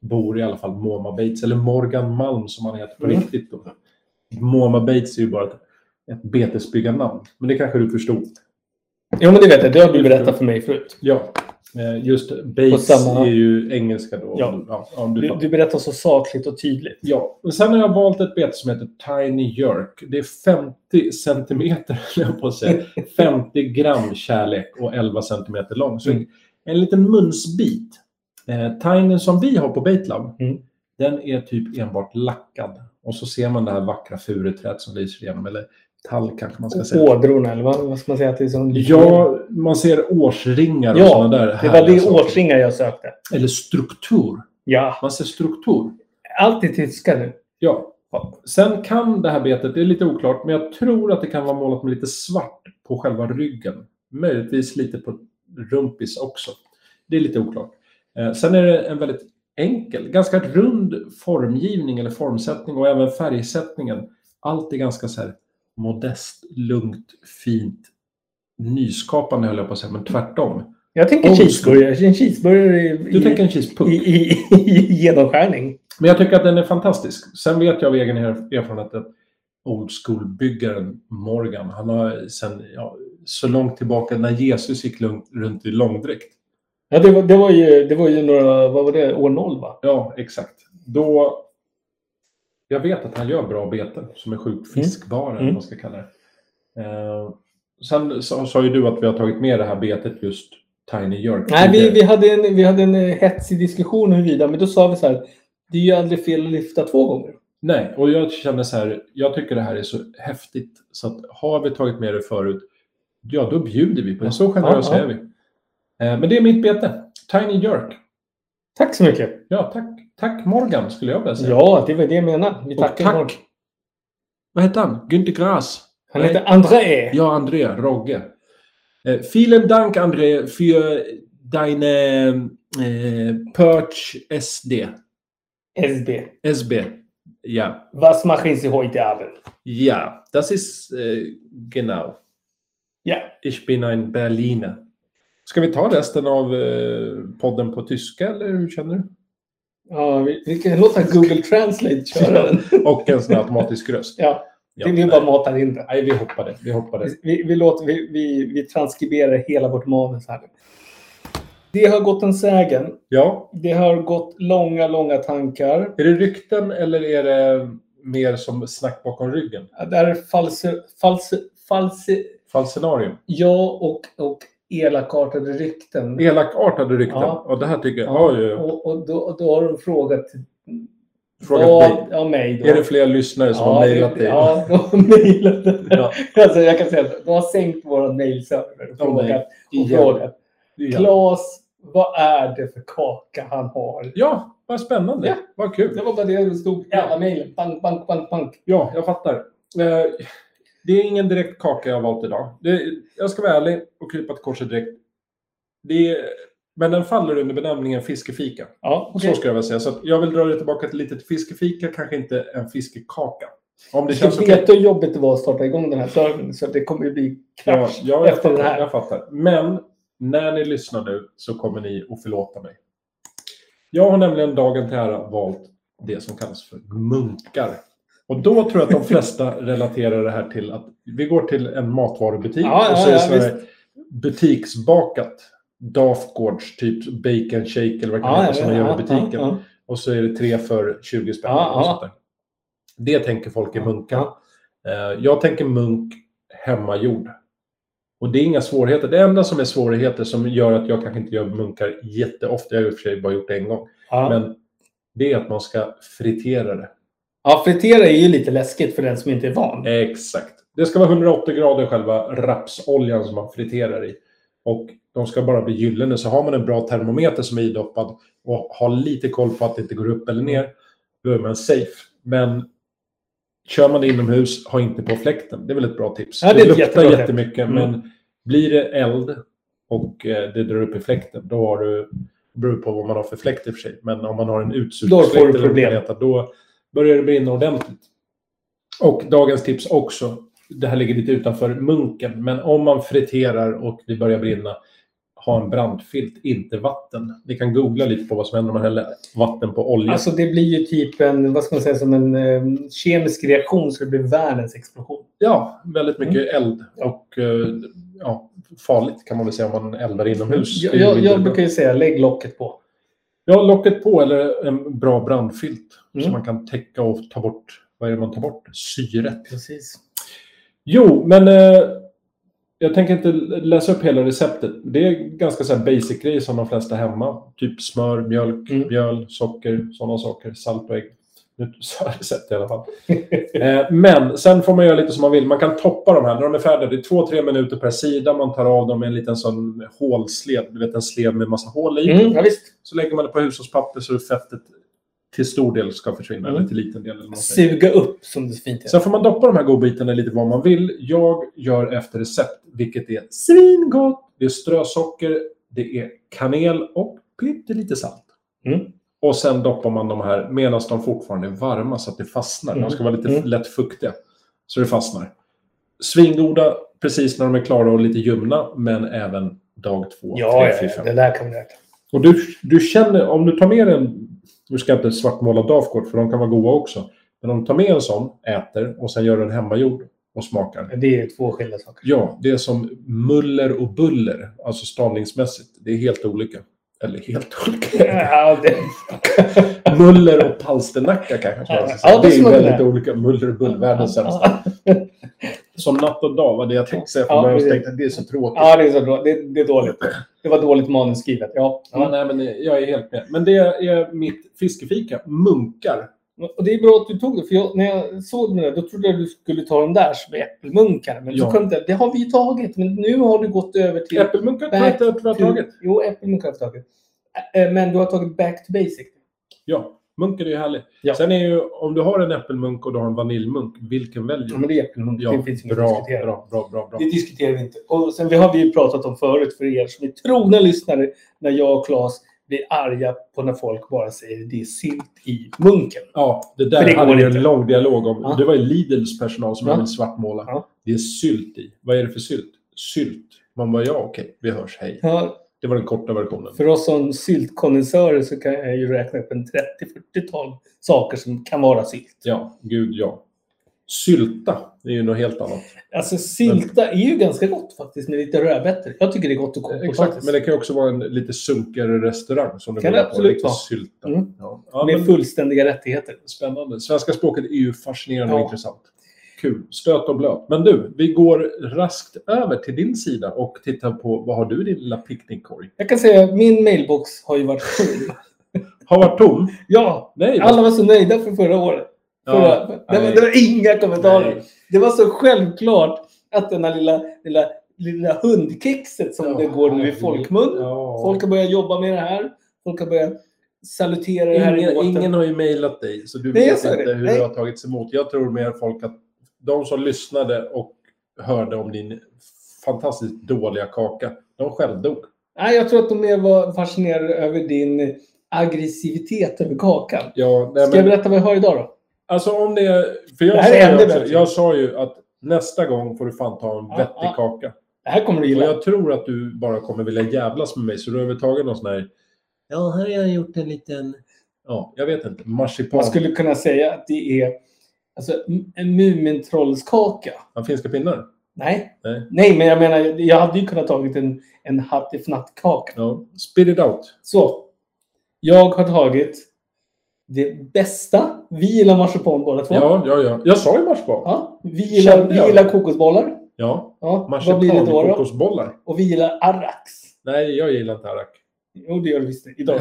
bor i alla fall Moma Bates, eller Morgan Malm som han heter på Mm. riktigt. Då. Moma Bates är ju bara ett, ett betesbyggarnamn. Men det kanske du förstod. Jo, men det vet jag. Det har du berättat för mig förut. Ja, eh, just Bates samma- är ju engelska då. Ja. Ja, ja, du Du, fattar. du berättar så sakligt och tydligt. Ja, men sen har jag valt ett bete som heter Tiny Jerk. Det är 50 centimeter, <laughs> höll jag på att säga. 50 gram kärlek och 11 centimeter lång. Så Mm. en liten munsbit. Eh, tiny som vi har på Baitlab, Mm. den är typ enbart lackad. Och så ser man det här vackra furuträdet som lyser igenom, eller tall kanske man ska säga. Ådrorna, eller vad, vad ska man säga? Att det är som Ja, man ser årsringar och Ja, sådana där det var härliga det saker. årsringar jag sökte. Eller struktur. Ja, Man ser struktur. allt är tyska nu. Ja. Sen kan det här betet, det är lite oklart, men jag tror att det kan vara målat med lite svart på själva ryggen. Möjligtvis lite på rumpis också. Det är lite oklart. Eh, sen är det en väldigt enkel, ganska rund formgivning eller formsättning och även färgsättningen. Allt är ganska så här modest, lugnt, fint, nyskapande höll jag på att säga, men tvärtom. Jag tänker Old cheeseburgare. En cheeseburgare i, Du i, tänker en cheesepuck. i, i, i genomskärning. Men jag tycker att den är fantastisk. Sen vet jag av egen erf- erfarenhet att old school-byggaren Morgan, han har sen ja, så långt tillbaka när Jesus gick lugnt, runt i långdräkt. Ja, det var, det, var ju, det var ju några, vad var det, år noll va? Ja, exakt. Då... Jag vet att han gör bra beten som är sjukt fiskbara, eller Mm. vad man ska kalla det. Eh, sen sa, sa ju du att vi har tagit med det här betet just Tiny Jerk. Nej, vi, vi, hade en, vi hade en eh, hetsig diskussion huruvida, men då sa vi så här, det är ju aldrig fel att lyfta två gånger. Nej, och jag känner så här, jag tycker det här är så häftigt. Så att har vi tagit med det förut, ja då bjuder vi på det. Så generösa Ja, ja. är vi. Eh, Men det är mitt bete, Tiny Jerk. Tack så mycket. Ja, tack, tack Morgan skulle jag vilja säga. Ja, det var det jag menade. Vi Och tackar Morgan. tack. Vad hette han? Günther Grass. Han Nej. heter André. Ja, André, Rogge. Eh, vielen Dank, André, för deine eh, Perch SD. SB. SB. Ja, Was machen Sie heute Abend? ja, das ist eh, genau. Ja. Ich bin ein Berliner. Ska vi ta resten av eh, podden på tyska, eller hur känner du? Ja, vi, vi kan låta Google Translate köra den. Och en sån här automatisk <laughs> röst. Ja, Ja, det, vi nej. bara matar in det. Nej, vi hoppar det. Vi hoppar det. Vi, vi, låter, vi, vi, vi transkriberar hela vårt manus här. Det har gått en sägen. Ja, Det har gått långa, långa tankar. är det rykten eller är det mer som snack bakom ryggen? Ja, Det här är false, false, false, Falscenarium. ja och, och elakartade rykten. Elakartade rykten. Ja. Och det här tycker jag... Oj, oj, oj. Och, och då, då har de frågat, Frågat vad, ja, mig då. Är det fler lyssnare som har mejlat dig? Ja, de har mejlat. Ja. <laughs> Alltså, jag kan säga att de har sänkt vår mejlserver och Ja, nej. frågat. Och Igen. frågat. Ja. Claes, vad är det för kaka han har? ja, vad spännande. Ja. Vad kul. Det var bara det som stod på alla mejlen. Bank, bank, bank, bank. Ja, jag fattar. Eh, Det är ingen direkt kaka jag har valt idag. Det, jag ska vara ärlig och krypa till korset direkt. Det är, men den faller under benämningen fiskefika. Ja, Så ska jag väl säga. Så att jag vill dra det tillbaka till lite till fiskefika, kanske inte en fiskekaka. Om det känns okej. vet hur jobbigt det var att starta igång den här servern så det kommer ju bli Ja, krasch ja, jag, efter den fattar, här. jag fattar. Men när ni lyssnar nu så kommer ni att förlåta mig. Jag har nämligen dagen till ära valt det som kallas för munkar. Och då tror <laughs> jag att de flesta relaterar det här till att vi går till en matvarubutik Ja, och ja, ja, säger så här, butiksbakat, Dafgårds, typ bacon shake eller vad det kan heta som man gör i butiken. Ja, Och så är det tre för 20 spänn. Ja, och ja. sånt där. Det tänker folk är munkar. Eh, Jag tänker munk hemmagjord. Och det är inga svårigheter. Det enda som är svårigheter som gör att jag kanske inte gör munkar jätteofta, jag har i och för sig bara gjort det en gång, ja. men det är att man ska fritera det. ja, fritera är ju lite läskigt för den som inte är van. Exakt. Det ska vara 180 grader själva rapsoljan som man friterar i. Och de ska bara bli gyllene. Så har man en bra termometer som är idoppad och har lite koll på att det inte går upp eller ner, då är man safe. Men kör man det inomhus, ha inte på fläkten. Det är väl ett bra tips. Ja, det är ett luktar jättebra tips. jättemycket, Mm. men blir det eld och eh, det drar upp i fläkten, då har du beror på vad man har för fläkt i och för sig. Men om man har en Då får utsugningsfläkt du eller vad det problem. heter, då börjar det brinna ordentligt. Och dagens tips också. Det här ligger lite utanför munken, men om man friterar och det börjar brinna, ha en brandfilt, inte vatten. Ni kan googla lite på vad som händer om man häller vatten på olja. Alltså det blir ju typ en, vad ska man säga, som en eh, kemisk reaktion så det blir världens explosion. ja, väldigt Mm. mycket eld och eh, ja, farligt kan man väl säga om man eldar inomhus. Jag, Det är jag, mindre jag bra. brukar ju säga lägg locket på. Ja, locket på eller en bra brandfilt Mm. som man kan täcka och ta bort, vad är det man tar bort? Syret. Precis. Jo, men eh, jag tänker inte läsa upp hela receptet. Det är ganska så här basic grejer som de flesta hemma. Typ smör, mjölk, Mm. mjöl, socker, sådana saker. Salt och ägg. Nu sa jag recept i alla fall. <laughs> Eh, men sen får man göra lite som man vill. Man kan toppa de här när de är färdiga. Det är två, tre minuter per sida. Man tar av dem med en liten sån hålsled. Du vet en sled med massa hål i. Mm, ja, visst. Så lägger man det på hushållspapper så fettet till stor del ska försvinna. Mm. Eller till liten del. Eller vad man säger. Suga upp som det så fint heter. Sen får man doppa de här godbitarna lite vad man vill. Jag gör efter recept, vilket är svingott. Det är strösocker, det är kanel och pyttelite salt. Mm. Och sen doppar man de här medan de fortfarande är varma så att det fastnar. Mm. De ska vara lite Mm. lätt fuktiga. Så det fastnar. Svingoda precis när de är klara och lite ljumna, men även dag två, Ja, tre, ja, fyra, ja, fem. det där kan vi räkna. Och du, du känner, om du tar med en, nu ska jag inte svartmåla Dafgård för de kan vara goda också, men om du tar med en sån, äter och sen gör den hemmagjord och smakar. Men Det är ju två skilda saker. <laughs> Ja, det är som muller och buller, alltså stavningsmässigt. Det är helt olika. Eller helt olika. <laughs> Ja, det, muller och palsternacka kanske man ska säga. Ja, det det är skulle jag väldigt vilja. olika. Muller och bull, världens sämsta. ja, Som natt och dag var det jag tänkte säga Ja, från början. Jag precis. tänkte att det är så tråkigt. ja, det är så bra. Det, det är dåligt. Det var dåligt manusskrivet. Ja. Ja, nej, men jag är helt med. Men det är mitt fiskefika. Munkar. Och det är bra att du tog det, för jag, när jag såg den där, då trodde jag att du skulle ta den där som är äppelmunkar. Men Ja. så kom det, det har vi ju tagit, men nu har du gått över till... Äppelmunkar tror jag inte att vi har tagit. Jo, äppelmunkar har vi tagit. Eh, Men du har tagit back to basic. Ja, munken är ju härlig. Ja. Sen är ju, om du har en äppelmunk och du har en vaniljmunk, vilken Ja, väljer du? men det är äppelmunk. Ja, det finns inget att bra, diskutera. bra, bra, bra, bra. Det diskuterar vi inte. Och sen vi har vi ju pratat om förut för er som är trogna lyssnare när jag och Claes blir arga på när folk bara säger det är silt i munken. Ja, det För där det går hade vi inte. en lång dialog om. Ja. Det var ju Lidls personal som Ja. jag vill svartmåla. Ja. Det är sylt i. Vad är det för sylt? Sylt. Man bara, ja okej, vi hörs, hej. Ja, Det var den korta versionen. för oss som syltkondensörer så kan jag ju räkna upp en 30-40-tal saker som kan vara silt. Ja, gud ja. Sylta, det är ju något helt annat. Alltså sylta är ju ganska gott faktiskt med lite rödbetor. Jag tycker det är gott och koka Exakt, men det kan ju också vara en lite sunkigare restaurang som du Kan vill det ha på. absolut Lite vara. sylta. Mm. Ja. Ja, men, Med fullständiga rättigheter. Spännande. Svenska språket är ju fascinerande Ja. och intressant. Kul. Stöt och blöt. Men du, vi går raskt över till din sida och tittar på vad har du i din lilla picknickkorg? Jag kan säga min mailbox har ju varit <laughs> full. Har varit tom? ja, Nej. vad- alla var så nöjda för förra året. Förra, det, var, nej. det var inga kommentarer. Nej. Det var så självklart att den här lilla, lilla, lilla hundkexet som det går nu i folkmun. Ja. Folk har börjat jobba med det här. Folk har börjat salutera det här i Ingen, båten. ingen har ju mejlat dig, så du Nej, jag vet sa inte det. hur Nej. det har tagits emot. Jag tror mer folk att de som lyssnade och hörde om din fantastiskt dåliga kaka, de självdog. Nej, jag tror att de mer var fascinerade över din aggressivitet över kakan. Ja, nej, Ska jag berätta vad jag har idag då? Alltså om det är... För jag, Det här sa är ju ännu också, bättre. jag sa ju att nästa gång får du fan ta en Ja, vettig ja. kaka. Det här kommer du Och gilla. jag tror att du bara kommer vilja jävlas med mig, så du har övertagit någon sån här... Ja, här har jag gjort en liten... Ja, jag vet inte. Marsipan. Man skulle kunna säga att det är alltså, m- en Mumintrollskaka. Ja, finska pinnar. Nej. Nej. Nej, men jag menar, jag hade ju kunnat tagit en, en hattifnattkaka. Ja. Spit it out. Så. Jag har tagit det bästa. Vi gillar marsipan båda två. Ja, ja, ja. Jag sa ju marsipan. Ja. Ja, vi gillar, Kände vi jag. gillar kokosbollar. ja. Ja, vad blir det Marsipan, då, då? kokosbollar. Och vi gillar arrax. Nej, jag gillar inte <laughs> arak. Jo, det gör vi visst. Idag.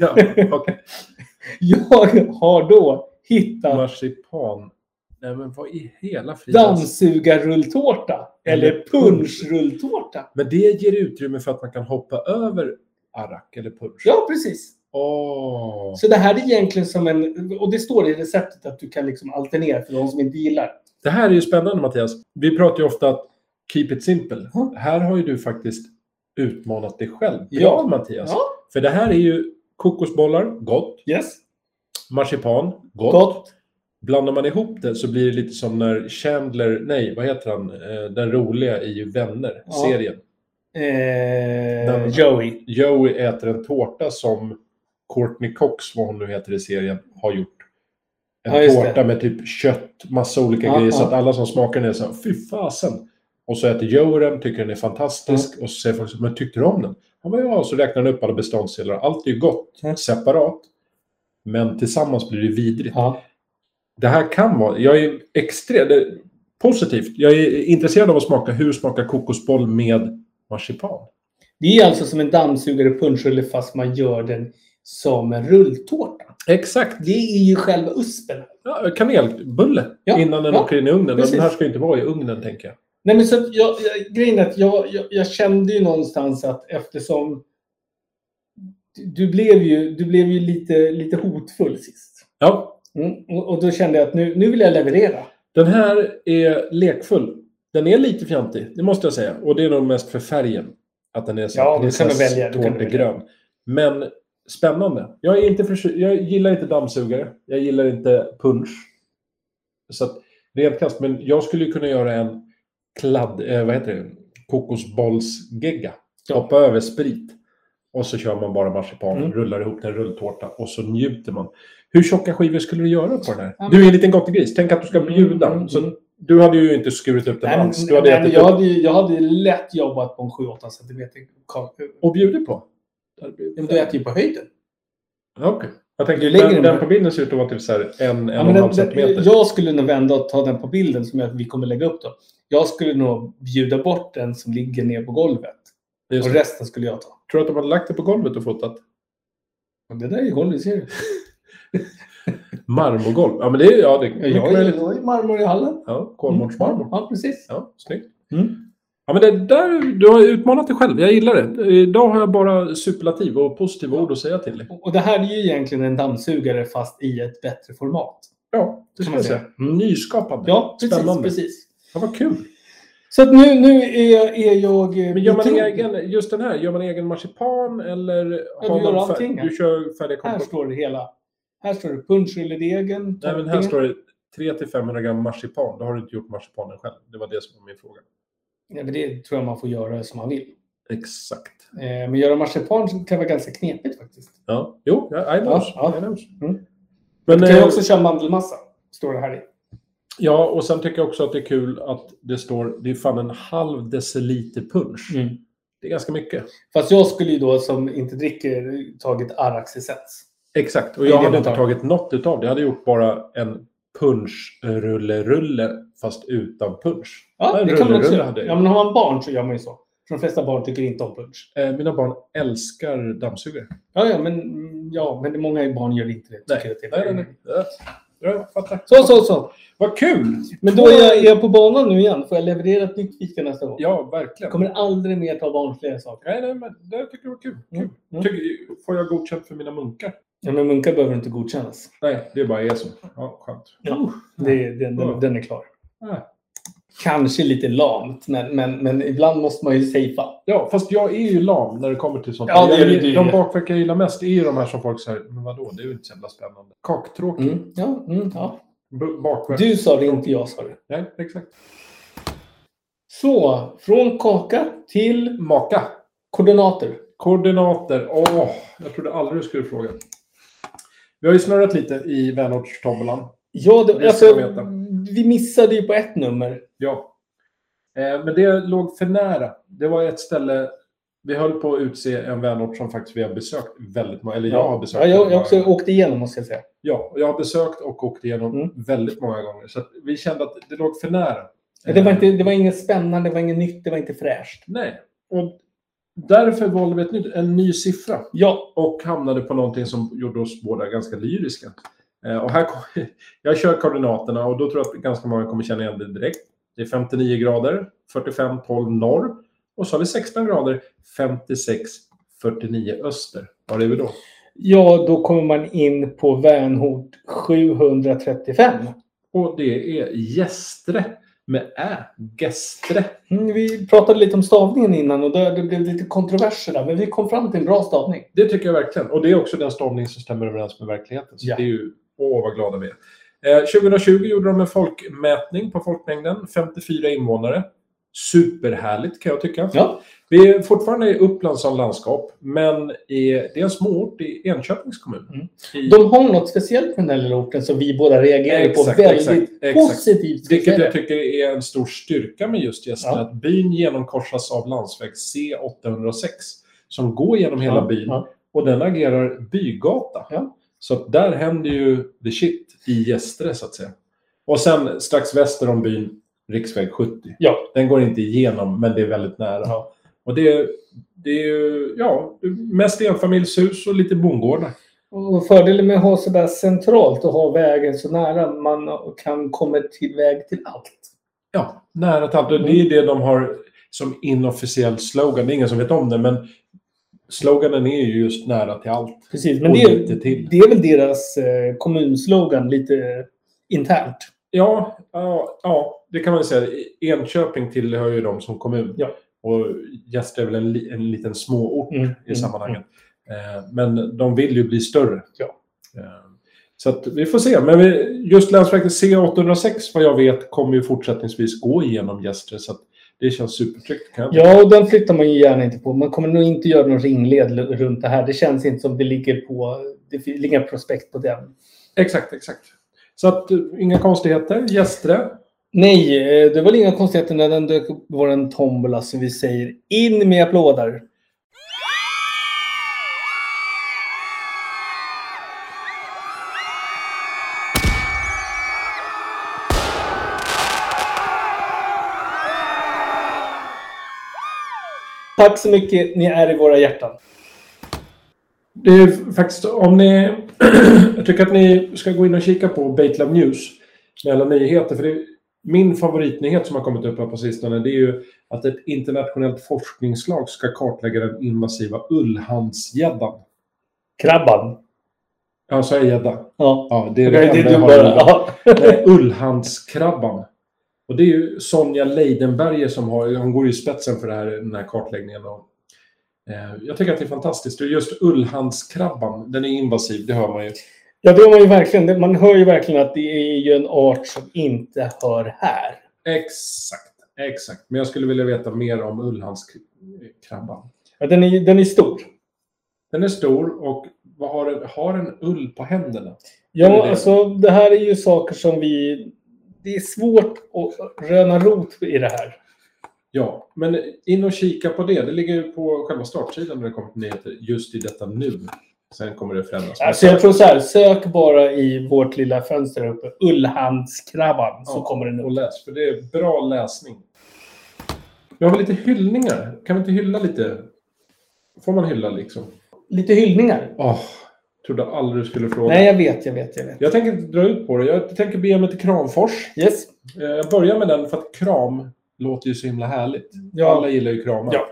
ja, okej. jag har då hittat Marsipan. Nej, men vad i hela fridens... dammsugarrulltårta. Eller punschrulltårta. Men det ger utrymme för att man kan hoppa över arak eller punsch. Ja, precis. Åh! Så det här är egentligen som en... Och det står i receptet att du kan liksom alternera för de som inte gillar. Det här är ju spännande Mattias. Vi pratar ju ofta att keep it simple. Ja. Här har ju du faktiskt utmanat dig själv. Bra Ja. Mattias! Ja. För det här är ju kokosbollar, gott. Yes. Marsipan, gott. Gott. Blandar man ihop det så blir det lite som när Chandler, nej vad heter han, Eh, den roliga i Vänner, Ja. serien. Eh, Den- Joey. Joey äter en tårta som Courtney Cox, vad hon nu heter i serien, har gjort. En Ja, just tårta det. med typ kött, massa olika Ja, grejer. Så ja. att alla som smakar den är så här, fy fasen. Och så äter Joey den, tycker den är fantastisk. Mm. Och så säger folk, så här, men tyckte du om den? Ja, men ja. Och så räknar han upp alla beståndsdelar. Allt är ju gott, Ja. separat. Men tillsammans blir det vidrigt. Ja. Det här kan vara, jag är extremt positivt. Jag är intresserad av att smaka, hur smakar kokosboll med marsipan? Det är alltså som en dammsugare och punschrulle fast man gör den som en rulltårta. Exakt. Det är ju själva uspen. Ja, kanelbulle Ja, innan den ja, åker in i ugnen. precis. Den här ska ju inte vara i ugnen, tänker jag. Nej, men så att jag, jag, grejen är att jag, jag, jag kände ju någonstans att eftersom du blev ju, du blev ju lite, lite hotfull sist. Ja, Mm. Och, och då kände jag att nu, nu vill jag leverera. den här är lekfull. Den är lite fjantig, det måste jag säga. Och det är nog mest för färgen. Att den är så Ja, här du kan väl välja, du kan väl välja. prinsesstårtegrön. Men spännande. Jag, är inte förtju- jag gillar inte dammsugare. Jag gillar inte punch. Så att, rent krasst, men jag skulle ju kunna göra en kladd... Eh, vad heter det? Kokosbollsgegga. Ja. Hoppa över sprit. Och så kör man bara marsipan, Mm. rullar ihop den rulltårta och så njuter man. Hur tjocka skivor skulle du göra på den här? Ja, Du är en liten gris. tänk att du ska bjuda. Mm, mm, Så mm. du hade ju inte skurit upp den Nej, men- alls. Du hade nej, men ätit jag, upp hade, ju- jag hade ju lätt jobbat på en 7-8 centimeter kaka. och bjudit på. Men du äter ju typ på höjden. Ja, Okej. Jag tänkte, Du lägger den, den den på- på bilden ser ut att vara typ så här en, en Ja, och men en den, halv den, centimeter. jag skulle nog vända och ta den på bilden som jag, vi kommer lägga upp då. Jag skulle nog bjuda bort den som ligger ner på golvet. Just Och det. resten skulle jag ta. Tror du att de hade lagt det på golvet och fotat? Men det där är ju golvet, ser du. Marmorgolv? Ja, men det är ja, det, Jag mycket har ju möjligt. jag har ju marmor i hallen. Ja, Kolmårdsmarmor. Ja, precis. Ja, snyggt. Mm. Ja, men det där, du har utmanat dig själv. Jag gillar det. Idag har jag bara superlativ och positiva ord att säga till dig. Och det här är ju egentligen en dammsugare fast i ett bättre format. Ja, det Kan ska man jag säga. säga. Mm, Nyskapande. Ja, precis. Spännande. precis. Ja, vad kul. Så att nu, nu är, är jag... eh, Men gör man betrodd. egen, just den här, gör man egen marsipan eller Ja, har du gör man allting, ja. du kör färdiga Här komposter? står det hela. Här står det punschrulledegen. Nej, men här står det 300-500 gram marsipan. Då har du inte gjort marsipanen själv. Det var det som var min fråga. Nej, men det tror jag man får göra som man vill. Exakt. Eh, Men göra marsipan kan vara ganska knepigt faktiskt. Ja, jo, ja, I knows. Ja, I knows. Mm. Men, Du kan ju eh, också köra mandelmassa. Står det här i. Ja, och sen tycker jag också att det är kul att det står, det är fan en halv deciliter punsch. Mm. Det är ganska mycket. Fast jag skulle ju då som inte dricker tagit Arax-essens. Exakt, och Det är jag det hade man inte tar. tagit något utav det. Jag hade gjort bara en punschrulle-rulle, fast utan punsch. Ja, en det kan man också rulle-rulle göra. hade jag Ja, men har man barn så gör man ju så. För de flesta barn tycker inte om punsch. Eh, Mina barn älskar dammsugare. Ja, ja, men, mm, ja, men det är många barn gör inte det. tycker att det är- Ja, Jag fattar. Så, så, så. Vad kul! Men då är jag, är jag på banan nu igen. Får jag leverera ett nytt fika nästa gång? Ja, Jag verkligen. kommer aldrig mer ta barnsliga saker. Nej, nej, men det tycker jag var kul. kul. Mm. Mm. Tycker, får jag godkänt för mina munkar? Ja, men munkar behöver inte godkännas. Nej, det är bara är så. Ja, skönt. Ja, det, den, den, den är klar. Ah. Kanske lite lamt, men, men, men ibland måste man ju safea. Ja, fast jag är ju lam när det kommer till sånt. Ja, det är Jag- du ju. de bakverk jag gillar mest är ju de här som folk säger, men vadå, det är ju inte så jävla spännande. Kaktråkigt. Mm. Ja, mm, ja. B- Bakverk. Du sa det, inte jag sa det. Nej, exakt. Så, från kaka till Maka. koordinater. Koordinater. Åh, jag trodde aldrig du skulle fråga. Vi har ju snurrat lite i vänortstavlan. Ja, det, Det ska alltså, jag veta. vi missade ju på ett nummer. Ja. Eh, men det låg för nära. Det var ett ställe, vi höll på att utse en vänort som faktiskt vi har besökt väldigt många, eller jag har besökt. Ja, jag, väldigt jag många också gånger. åkte igenom, måste jag säga. Ja, och jag har besökt och åkt igenom Mm. väldigt många gånger. Så att vi kände att det låg för nära. Men Det var, Eh, inte, det var inget spännande, det var inget nytt, det var inte fräscht. Nej. Och därför valde vi ett nytt, en ny siffra Ja, och hamnade på någonting som gjorde oss båda ganska lyriska. Eh, och här kom, <laughs> jag kör koordinaterna och då tror jag att ganska många kommer känna igen det direkt. Det är 59 grader, 45, 12 norr och så har vi 16 grader, 56, 49 öster. Var är vi då? ja, då kommer man in på Vänhot 735. Och det är Gästre med Ä. Gästre. Mm, Vi pratade lite om stavningen innan och där det blev lite kontroverser där, men vi kom fram till en bra stavning. Det tycker jag verkligen. Och det är också den stavning som stämmer överens med verkligheten. Så Ja. det är ju, åh vad glada vi är. Eh, 2020 gjorde de en folkmätning på folkmängden, 54 invånare. Superhärligt kan jag tycka. Ja. Vi är fortfarande i Uppland som landskap, men i, det är en småort i Enköpings kommun. Mm. I, De har något speciellt med den här lilla orten som vi båda reagerar på Exakt, väldigt exakt, exakt. positivt. ska vilket säga jag tycker är en stor styrka med just Gästra, Ja. att byn genomkorsas av landsväg C806 som går genom hela Ja, byn. ja. Och den agerar bygata. Ja. Så att där händer ju the shit i Gästre, så att säga. Och sen strax väster om byn, riksväg 70. Ja. Den går inte igenom, men det är väldigt nära. Ja. Och det är, det är ju, ja, mest enfamiljshus och lite bondgårdar. Och fördelen med att ha sådär centralt och ha vägen så nära man kan komma till väg till allt. Ja, nära till allt. Och Det Mm. är det de har som inofficiell slogan. Det är ingen som vet om det, men sloganen är ju just nära till allt. Precis, men Och det är, lite till. det är väl deras eh, kommunslogan lite internt. Ja, ja, ja det kan man ju säga. Enköping tillhör ju dem som kommun. Ja. Och Gästre är väl en, li- en liten småort i Mm. sammanhanget. Eh, Men de vill ju bli större. Ja. Eh, Så att vi får se. Men vi- just Länsverket C806, vad jag vet, kommer ju fortsättningsvis gå igenom Gästre. Så att det känns supertryggt. Kan jag Ja, och den flyttar man ju gärna inte på. Man kommer nog inte göra någon ringled l- runt det här. Det känns inte som det ligger på... Det finns inga prospekt på den. Exakt, exakt. Så att eh, inga konstigheter. Gästre. Nej, eh, det var väl inga konstigheter när den dök upp på vår tombola som vi säger in med applåder. Tack så mycket. Ni är i våra hjärtan. Det är faktiskt om ni... <clears throat> jag tycker att ni ska gå in och kika på Batelab News med alla nyheter. För det Min favoritnyhet som har kommit upp här på sistone det är ju att ett internationellt forskningslag ska kartlägga den invasiva ullhandsgäddan. Krabban. Ja, sa jag gädda? Ja. Ja, det är Det det är enda du jag har i bara. huvudet. Ja. Nej, Ullhandskrabban. Och det är ju Sonja Leidenberger som har, hon går ju i spetsen för det här, den här kartläggningen. Och, eh, jag tycker att det är fantastiskt. Och just Ullhandskrabban, den är invasiv, det hör man ju. Ja, det har man ju verkligen. Man hör ju verkligen att det är ju en art som inte hör här. Exakt, exakt. Men jag skulle vilja veta mer om Ullhandskrabban. Ja, den, är, den är stor. Den är stor och vad har, den, har en ull på händerna? Eller Ja, det. alltså det här är ju saker som vi... Det är svårt att röna rot i det här. Ja, men in och kika på det. Det ligger ju på själva startsidan när det kommer till nyheter just i detta nu. Sen kommer det förändras. Alltså jag tror så här, sök bara i vårt lilla fönster här uppe, Ullhandskrabban, så Ja. kommer den och upp. läs, för det är bra läsning. Nu har vi lite hyllningar. Kan vi inte hylla lite? Får man hylla liksom? Lite hyllningar. Åh, trodde aldrig du skulle fråga. Nej, jag vet, jag vet, jag vet. Jag tänker inte dra ut på det. Jag tänker bege mig till Kramfors. Yes. Eh, Jag börjar med den för att kram låter ju så himla härligt. Ja. Alla gillar ju kramar. Ja.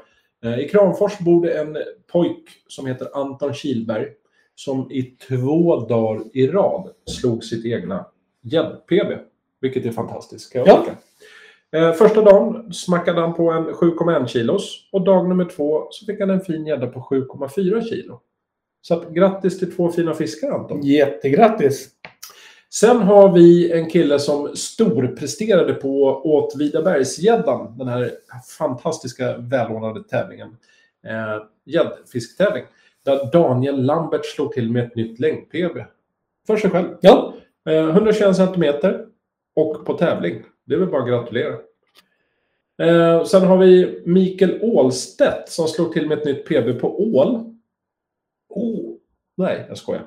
Eh, I Kramfors bor det en pojk som heter Anton Kilberg som i två dagar i rad slog sitt egna gädd-PB. Vilket är fantastiskt, kan jag Ja. tycka. Eh, Första dagen smackade han på en 7,1 kilos och dag nummer två så fick han en fin gädda på 7,4 kilo. Så att, grattis till två fina fiskar Anton. Jättegrattis. Sen har vi en kille som storpresterade på Åtvidabergsgäddan, den här fantastiska välordnade tävlingen. Eh, Gäddfisktävling. Där Daniel Lambert slog till med ett nytt längd-PB. För sig själv. Ja. Eh, 121 centimeter och på tävling. Det är väl bara att gratulera. Eh, sen har vi Mikael Ålstedt som slog till med ett nytt PB på ål. Oh, nej, jag skojar.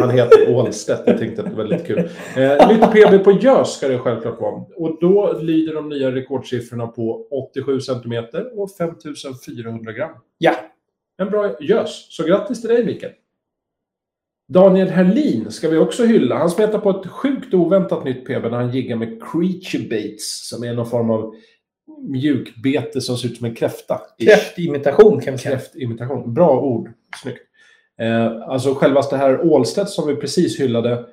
Han heter Ålstedt. Jag tänkte att det var lite kul. Eh, nytt PB på gös ska det självklart vara. Och då lyder de nya rekordsiffrorna på 87 centimeter och 5400 gram. Ja. En bra gös. Så grattis till dig, Mikael. Daniel Herlin ska vi också hylla. Han smetar på ett sjukt oväntat nytt PB när han jiggar med creature baits som är någon form av mjukbete som ser ut som en kräfta. Kräftimitation kan vi säga. Kräftimitation. Bra ord. Snyggt. Eh, alltså själva det här Ålstedt som vi precis hyllade,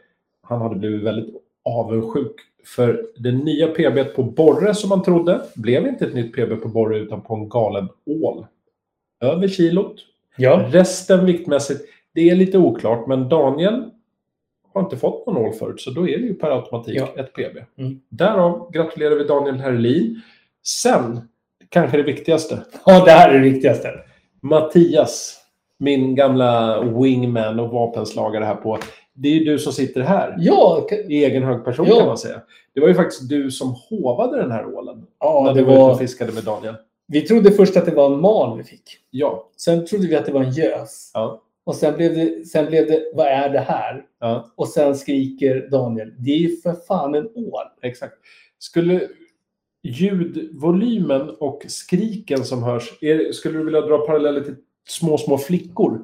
han hade blivit väldigt avundsjuk. För det nya PB på Borre som man trodde blev inte ett nytt PB på Borre utan på en galen ål. Över kilot. Ja. Resten viktmässigt, det är lite oklart, men Daniel har inte fått någon ål förut, så då är det ju per automatik Ja. ett PB. Mm. Därav gratulerar vi Daniel Herlin. Sen, kanske det viktigaste, ja, det här är det viktigaste. Mattias, min gamla wingman och vapenslagare här på. Det är ju du som sitter här. Ja, k- I egen hög person Ja. kan man säga. Det var ju faktiskt du som hovade den här ålen. ja när det du var ute och var... fiskade med Daniel. Vi trodde först att det var en mal vi fick. Ja. Sen trodde vi att det var en gös. Ja. Och sen blev, det, sen blev det, vad är det här? Ja. Och sen skriker Daniel, det är ju för fan en ål. Exakt. Skulle ljudvolymen och skriken som hörs, är, skulle du vilja dra paralleller till små, små flickor?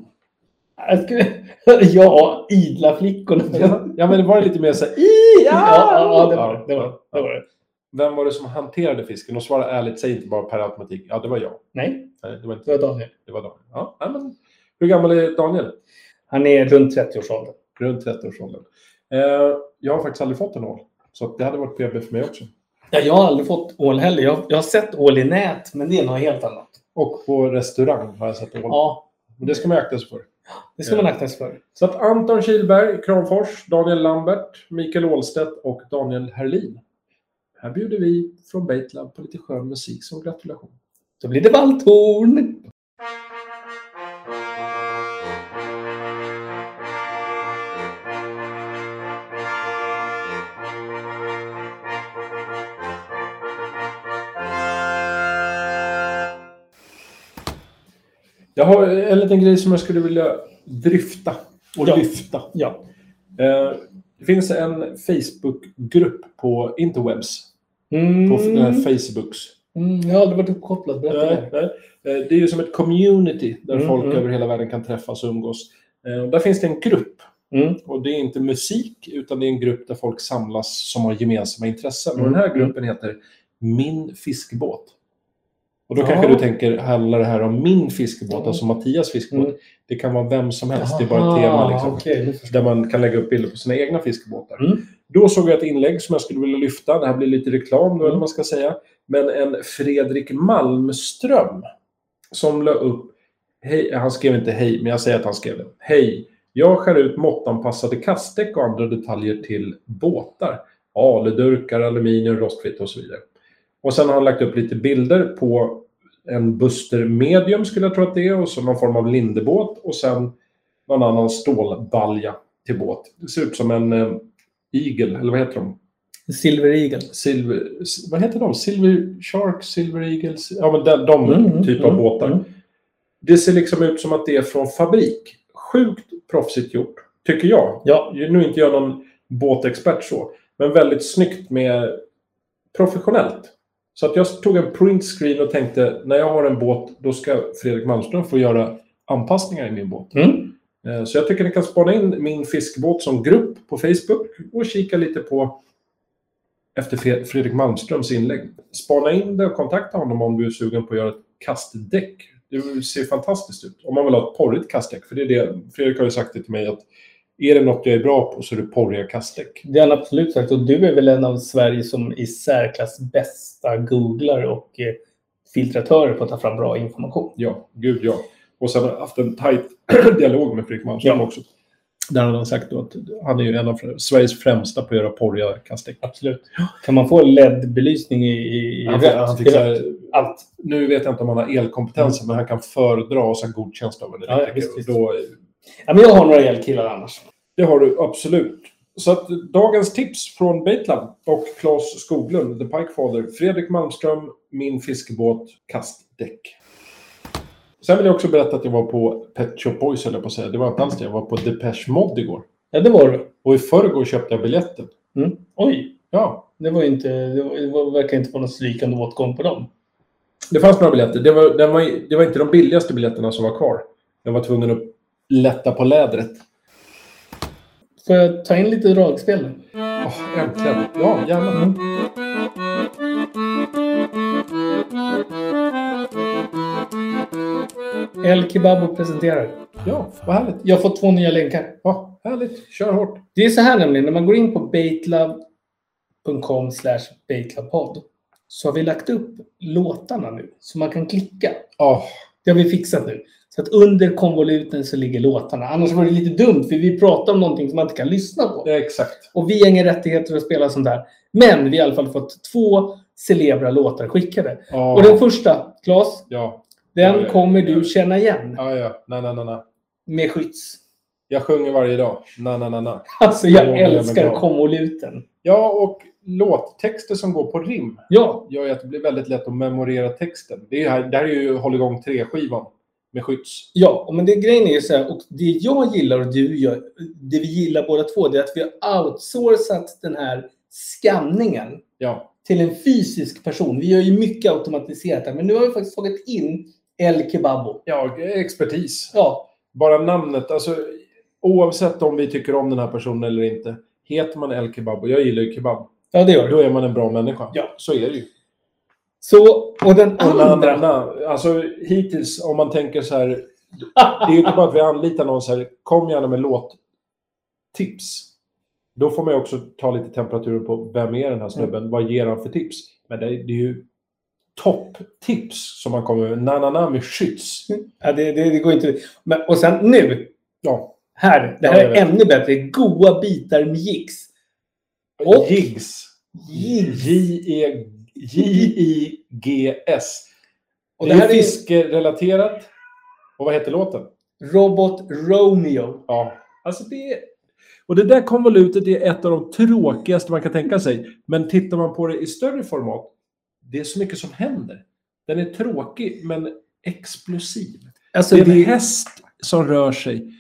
Jag skulle- <laughs> Ja, idla flickorna. Ja, men det var lite mer så här, <laughs> "I, ja, ja, det var det. det, var, det, det, var det. Vem var det som hanterade fisken? Och svara ärligt, säg inte bara per automatik, ja det var jag. Nej, Nej, det var inte det var Daniel. det var Daniel. Ja, nej, men, hur gammal är Daniel? Han är runt 30-årsåldern. Runt 30-årsåldern. Eh, jag har faktiskt aldrig fått en ål. Så att det hade varit PB för mig också. Ja, jag har aldrig fått ål heller. Jag, jag har sett ål i nät, men det är något helt annat. Och på restaurang har jag sett ål. Ja, Men det ska man ju akta sig för. det ska man akta sig för. Så att Anton Kilberg, Kramfors, Daniel Lambert, Mikael Ålstedt och Daniel Herlin. Här bjuder vi från Baitlab på lite skön musik som gratulation. Då blir det valthorn. Jag har en liten grej som jag skulle vilja dryfta och Ja. lyfta. Ja. Eh, det finns en Facebookgrupp på interwebs. Mm. På f- den här Facebooks. Mm, jag har aldrig varit uppkopplad. Berätta Nej, mer. nej. Eh, Det är ju som ett community där Mm, folk mm. över hela världen kan träffas och umgås. Eh, och Där finns det en grupp Mm. Och det är inte musik, utan det är en grupp där folk samlas som har gemensamma intressen. Mm. Och den här gruppen heter Min fiskebåt. Och då Ja. kanske du tänker, handlar det här om min fiskebåt, Mm. alltså Mattias fiskebåt? Mm. Det kan vara vem som helst, det är bara ett tema. Liksom, okej. Där man kan lägga upp bilder på sina egna fiskebåtar. Mm. Då såg jag ett inlägg som jag skulle vilja lyfta. Det här blir lite reklam nu, Mm. eller vad man ska säga. Men en Fredrik Malmström som la upp... Hej, han skrev inte hej, men jag säger att han skrev det. Hej! Jag skär ut måttanpassade kastdäck och andra detaljer till båtar. Aludurkar, aluminium, rostfritt och så vidare. Och sen har han lagt upp lite bilder på en Buster Medium skulle jag tro att det är och så någon form av lindebåt och sen någon annan stålbalja till båt. Det ser ut som en eh, igel, eller vad heter de? Silver Eagle. Silver, s- vad heter de? Silver Shark, Silver Eagle? si- Ja, men de, de Mm, typ mm, av båtar. mm. Det ser liksom ut som att det är från fabrik. Sjukt proffsigt gjort, tycker jag. Ja. Nu är inte jag någon båtexpert så, men väldigt snyggt med professionellt. Så att jag tog en printscreen och tänkte, när jag har en båt, då ska Fredrik Malmström få göra anpassningar i min båt. Mm. Eh, Så jag tycker ni kan spana in min fiskbåt som grupp på Facebook och kika lite på efter Fre- Fredrik Malmströms inlägg. Spana in det och kontakta honom om du är sugen på att göra ett kastdäck. Det ser fantastiskt ut. Om man vill ha ett porrigt kastdäck. För det är det, Fredrik har ju sagt det till mig att är det något jag är bra på så är det porriga kastdäck. Det har han absolut sagt. Och du är väl en av Sverige som i särklass bästa googlare och eh, filtratörer på att ta fram bra information. Ja, gud ja. Och sen har jag haft en tajt <clears throat> dialog med Fredrik Malmström Ja. också. Där har han sagt då att han är ju en av Sveriges främsta på att göra porriga kastdäck. Absolut. Kan man få LED-belysning i, i, i Han, rött? han fixar Allt. Nu vet jag inte om han har elkompetensen, men han kan föredra och sen godkänns av en Mm. Ja, ja, elektriker. visst, visst. Då, Ja, men jag har några elkillar annars. det har du absolut. Så att, dagens tips från Baitlab och Claes Skoglund, The Pikefather, Fredrik Malmström, Min fiskebåt, Kastdäck. Sen vill jag också berätta att jag var på Pet Shop Boys, höll jag på att säga. Det var inte alls det. Jag var på Depeche Mode igår. Ja, det var det. Och i förrgår köpte jag biljetten. Oj, Ja, det, var ju inte, det, var, det var, verkar inte vara någon strykande åtgång på dem. Det fanns några biljetter. Det var, den var, det var inte de billigaste biljetterna som var kvar. Jag var tvungen att lätta på lädret. Får jag ta in lite dragspel nu? Åh, äntligen. Ja, Mm. gärna. El Kebabo presenterar. Ja, vad härligt. Jag får två nya länkar. Ja, härligt. Kör hårt. Det är så här nämligen, när man går in på baitlove.com slash baitlovepod så har vi lagt upp låtarna nu, så man kan klicka. Ja, Det har vi fixat nu. Så att under konvoluten så ligger låtarna. Annars var det lite dumt, för vi pratar om någonting som man inte kan lyssna på. ja, exakt. Och vi har inga rättigheter att spela sånt där. Men vi har i alla fall fått två celebra låtar skickade. Ja, Och den första, Claes, ja, den Ja, ja, kommer ja. du känna igen ja, ja. Na, na, na, na. med skydds. Jag sjunger varje dag. Na, na, na, na. Alltså Ja, jag men det är älskar bra. konvoluten. Ja, och låttexter som går på rim Ja, gör ju att det blir väldigt lätt att memorera texten. Det, är ju här, det här är ju Hålligång 3-skivan med Skytts. ja, och men det grejen är ju så här, och det jag gillar och du gör, det vi gillar båda två, det är att vi har outsourcat den här skanningen Ja, till en fysisk person. Vi gör ju mycket automatiserat här, men nu har vi faktiskt tagit in El Kebabo. ja expertis. Ja, bara namnet, alltså oavsett om vi tycker om den här personen eller inte. Heter man El Kebab, och jag gillar ju kebab, ja det gör du. då är man en bra människa. Ja. Så är det ju. Så, och den Och na, na, andra... na. Alltså hittills, om man tänker så här, det är ju inte bara att vi anlitar någon så här, kom gärna med låttips. Då får man ju också ta lite temperaturen på, vem är Mm. den här snubben, vad ger han för tips? Men det, är- det är ju topptips som man kommer med. Na, na, na med Schütz. Ja, det, det, det går inte. Men, och sen nu, Ja. här. Det Ja, här jag är vet. ännu bättre. Goa bitar med Jigs. Och- Jigs. E Jigs. J-E- J-I-G-S. Och det, det här är är- fiskerelaterat. Och vad heter låten? Robot Romeo. Ja. Alltså det är... Och det där konvolutet är ett av de tråkigaste man kan tänka sig. Men tittar man på det i större format, det är så mycket som händer. Den är tråkig, men explosiv. Alltså, Det är en det, häst som rör sig.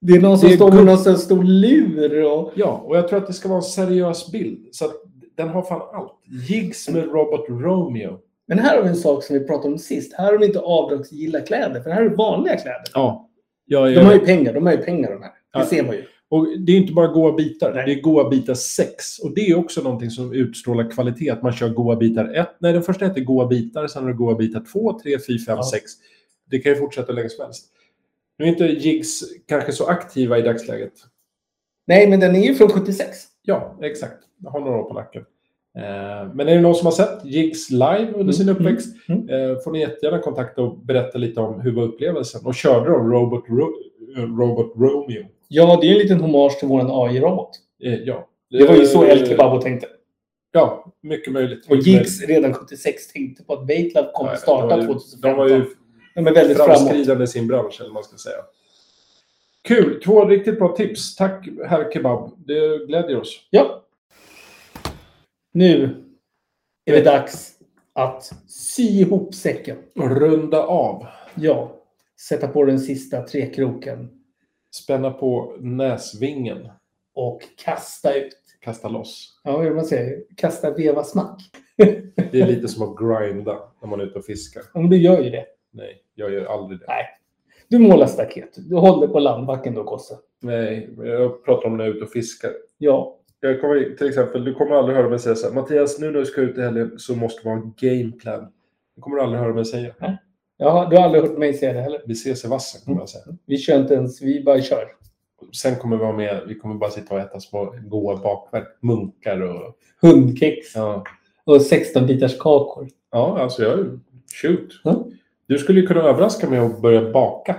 det är någon som det är står med gott. någon sån stor lur. Och, Ja, och jag tror att det ska vara en seriös bild. Så att den har fan allt. Jigs med Robot Romeo. men här har vi en sak som vi pratade om sist. Här har de inte avdragsgilla kläder, för här är det vanliga kläder. Ja. Jag De har ju pengar, de har ju pengar de här. Det Ja. ser man ju. Och det är inte bara goa bitar, Nej. det är goa bitar 6. Och det är också någonting som utstrålar kvalitet, att man kör goa bitar 1. Nej, den första heter goa bitar, sen har du goa bitar 2, 3, 4, 5, Ja. 6. Det kan ju fortsätta hur länge som helst. Nu är inte Jigs kanske så aktiva i dagsläget. Nej, men den är ju från 76. Ja, exakt. Jag har några år på nacken. Eh, men är det någon som har sett Jigs live under sin Mm, uppväxt mm, eh, får ni jättegärna kontakta och berätta lite om hur var upplevelsen. Och körde de Robot, Ro eh, Robot Romeo? Ja, det är en liten hommage till våran AI-robot. Eh, ja. Det var ju så Eh, El Kebabo tänkte. Ja, mycket möjligt. Och Mycket Giggs redan 76 tänkte på att Baitlab möjligt. kommer starta Eh, de var ju- 2015. De var ju De är väldigt framåt. framskridande i sin bransch, eller vad man ska säga. Kul! Två riktigt bra tips. Tack, herr Kebab. Det glädjer oss. Ja. Nu är Eh. det dags att sy ihop säcken. Runda av. Ja. Sätta på den sista trekroken Spänna på näsvingen. och kasta ut. Kasta loss. Ja, hur man säger. Kasta veva smack. Det är lite som att grinda när man är ute och fiskar. Ja, men du gör ju det. Nej, jag gör aldrig det. Nej. Du målar staket. Du håller på landbacken då, Kosse. Nej, jag pratar om när jag är ute och fiskar. Ja. Jag kommer, till exempel, du kommer aldrig höra mig säga så här, Mattias, nu när du ska ut i helgen så måste man ha en gameplan. Det kommer du aldrig höra mig säga. ja. Du har aldrig hört mig säga det heller. Vi ses i vassen, kommer jag säga. Vi kör inte ens. Vi bara kör. Sen kommer vi vara med, vi kommer bara sitta och äta små goa bakverk, munkar och... Hundkex. Ja, Och 16 bitars kakor. ja alltså jag... Shoot. Ja. Du skulle ju kunna överraska mig och börja baka.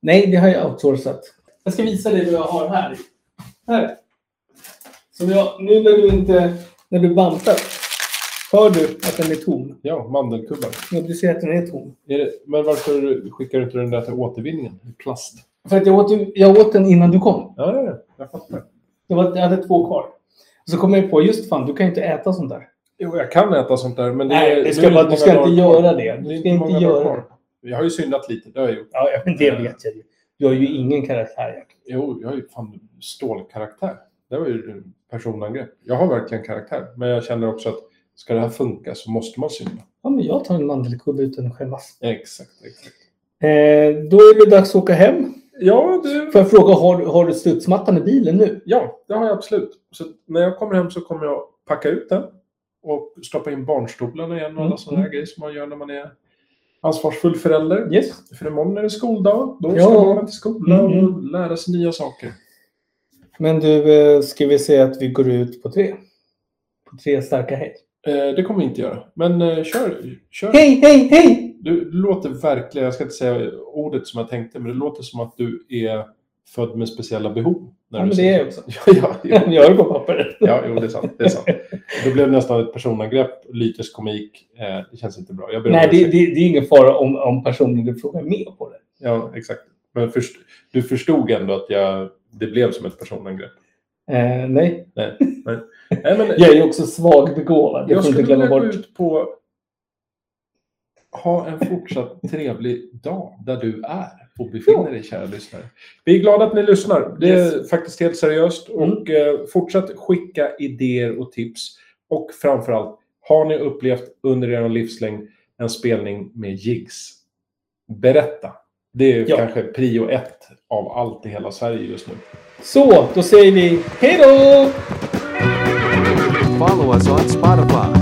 Nej, det har jag outsourcat. Jag ska visa dig vad jag har här. Här. Som jag, nu när du inte... När du bantar. Hör du att den är tom? Ja, mandelkubbar. Ja, du ser att den är tom. Är det, men varför skickar du inte den där till återvinningen? I plast? För att jag åt, ju- jag åt den innan du kom. Ja, ja, ja, jag fattar. Det var, jag hade två kvar. Och så kom jag på, just fan, du kan ju inte äta sånt där. Jo, jag kan äta sånt där, men det Nej, är- det ska nu är bara- inte du ska många inte dagar kvar. göra det. Du är ska inte många göra dagar kvar. Jag har ju syndat lite, det har jag gjort. Ja, ja, men det vet jag ju. Du har ju ingen karaktär. Jack. Jo, jag har ju fan stålkaraktär. Det var ju personangrepp. Jag har verkligen karaktär, men jag känner också att ska det här funka så måste man synda. Ja, men jag tar en mandelkubbe utan att skämmas. Exakt, exakt. Eh, då är det dags att åka hem. Ja, det, Får jag fråga, har, har du studsmattan i bilen nu? ja, det har jag absolut. Så när jag kommer hem så kommer jag packa ut den och stoppa in barnstolarna igen och alla Mm. sådana här grejer som man gör när man är ansvarsfull förälder. Yes. För imorgon är det skoldag. Då ska Ja. barnen till skolan Mm, och lära sig nya saker. Men du, eh, ska vi säga att vi går ut på tre? På tre starka hej. Eh, det kommer vi inte göra. Men eh, kör. kör. Hej, hej, hej! Du du låter verkligen, jag ska inte säga ordet som jag tänkte, men det låter som att du är född med speciella behov. Ja, När du men det säger är jag också. så. <laughs> Ja, ja, jo. <laughs> Jag har det på papper. ja, jo, det är sant. Det är sant. Det blev nästan ett personangrepp, lytisk komik. Eh, det känns inte bra. Jag ber om Nej, det, det, ursäkt. det är ingen fara om, om personen du frågar är med på det. Ja, exakt. Men först, du förstod ändå att jag, det blev som ett personangrepp. Eh, nej. Nej, men Jag är ju också svagbegåvad. Jag jag får inte skulle glömma vilja gå bort. ut på ha en fortsatt trevlig dag där du är och befinner dig, kära lyssnare. Vi är glada att ni lyssnar. Det är Yes. Mm. faktiskt helt seriöst. Och eh, fortsätt skicka idéer och tips. Och framförallt, har ni upplevt under er livslängd en spelning med jigs? Berätta. Det är Ja. kanske prio ett av allt i hela Sverige just nu. Så, då säger vi hej då! Follow us on Spotify.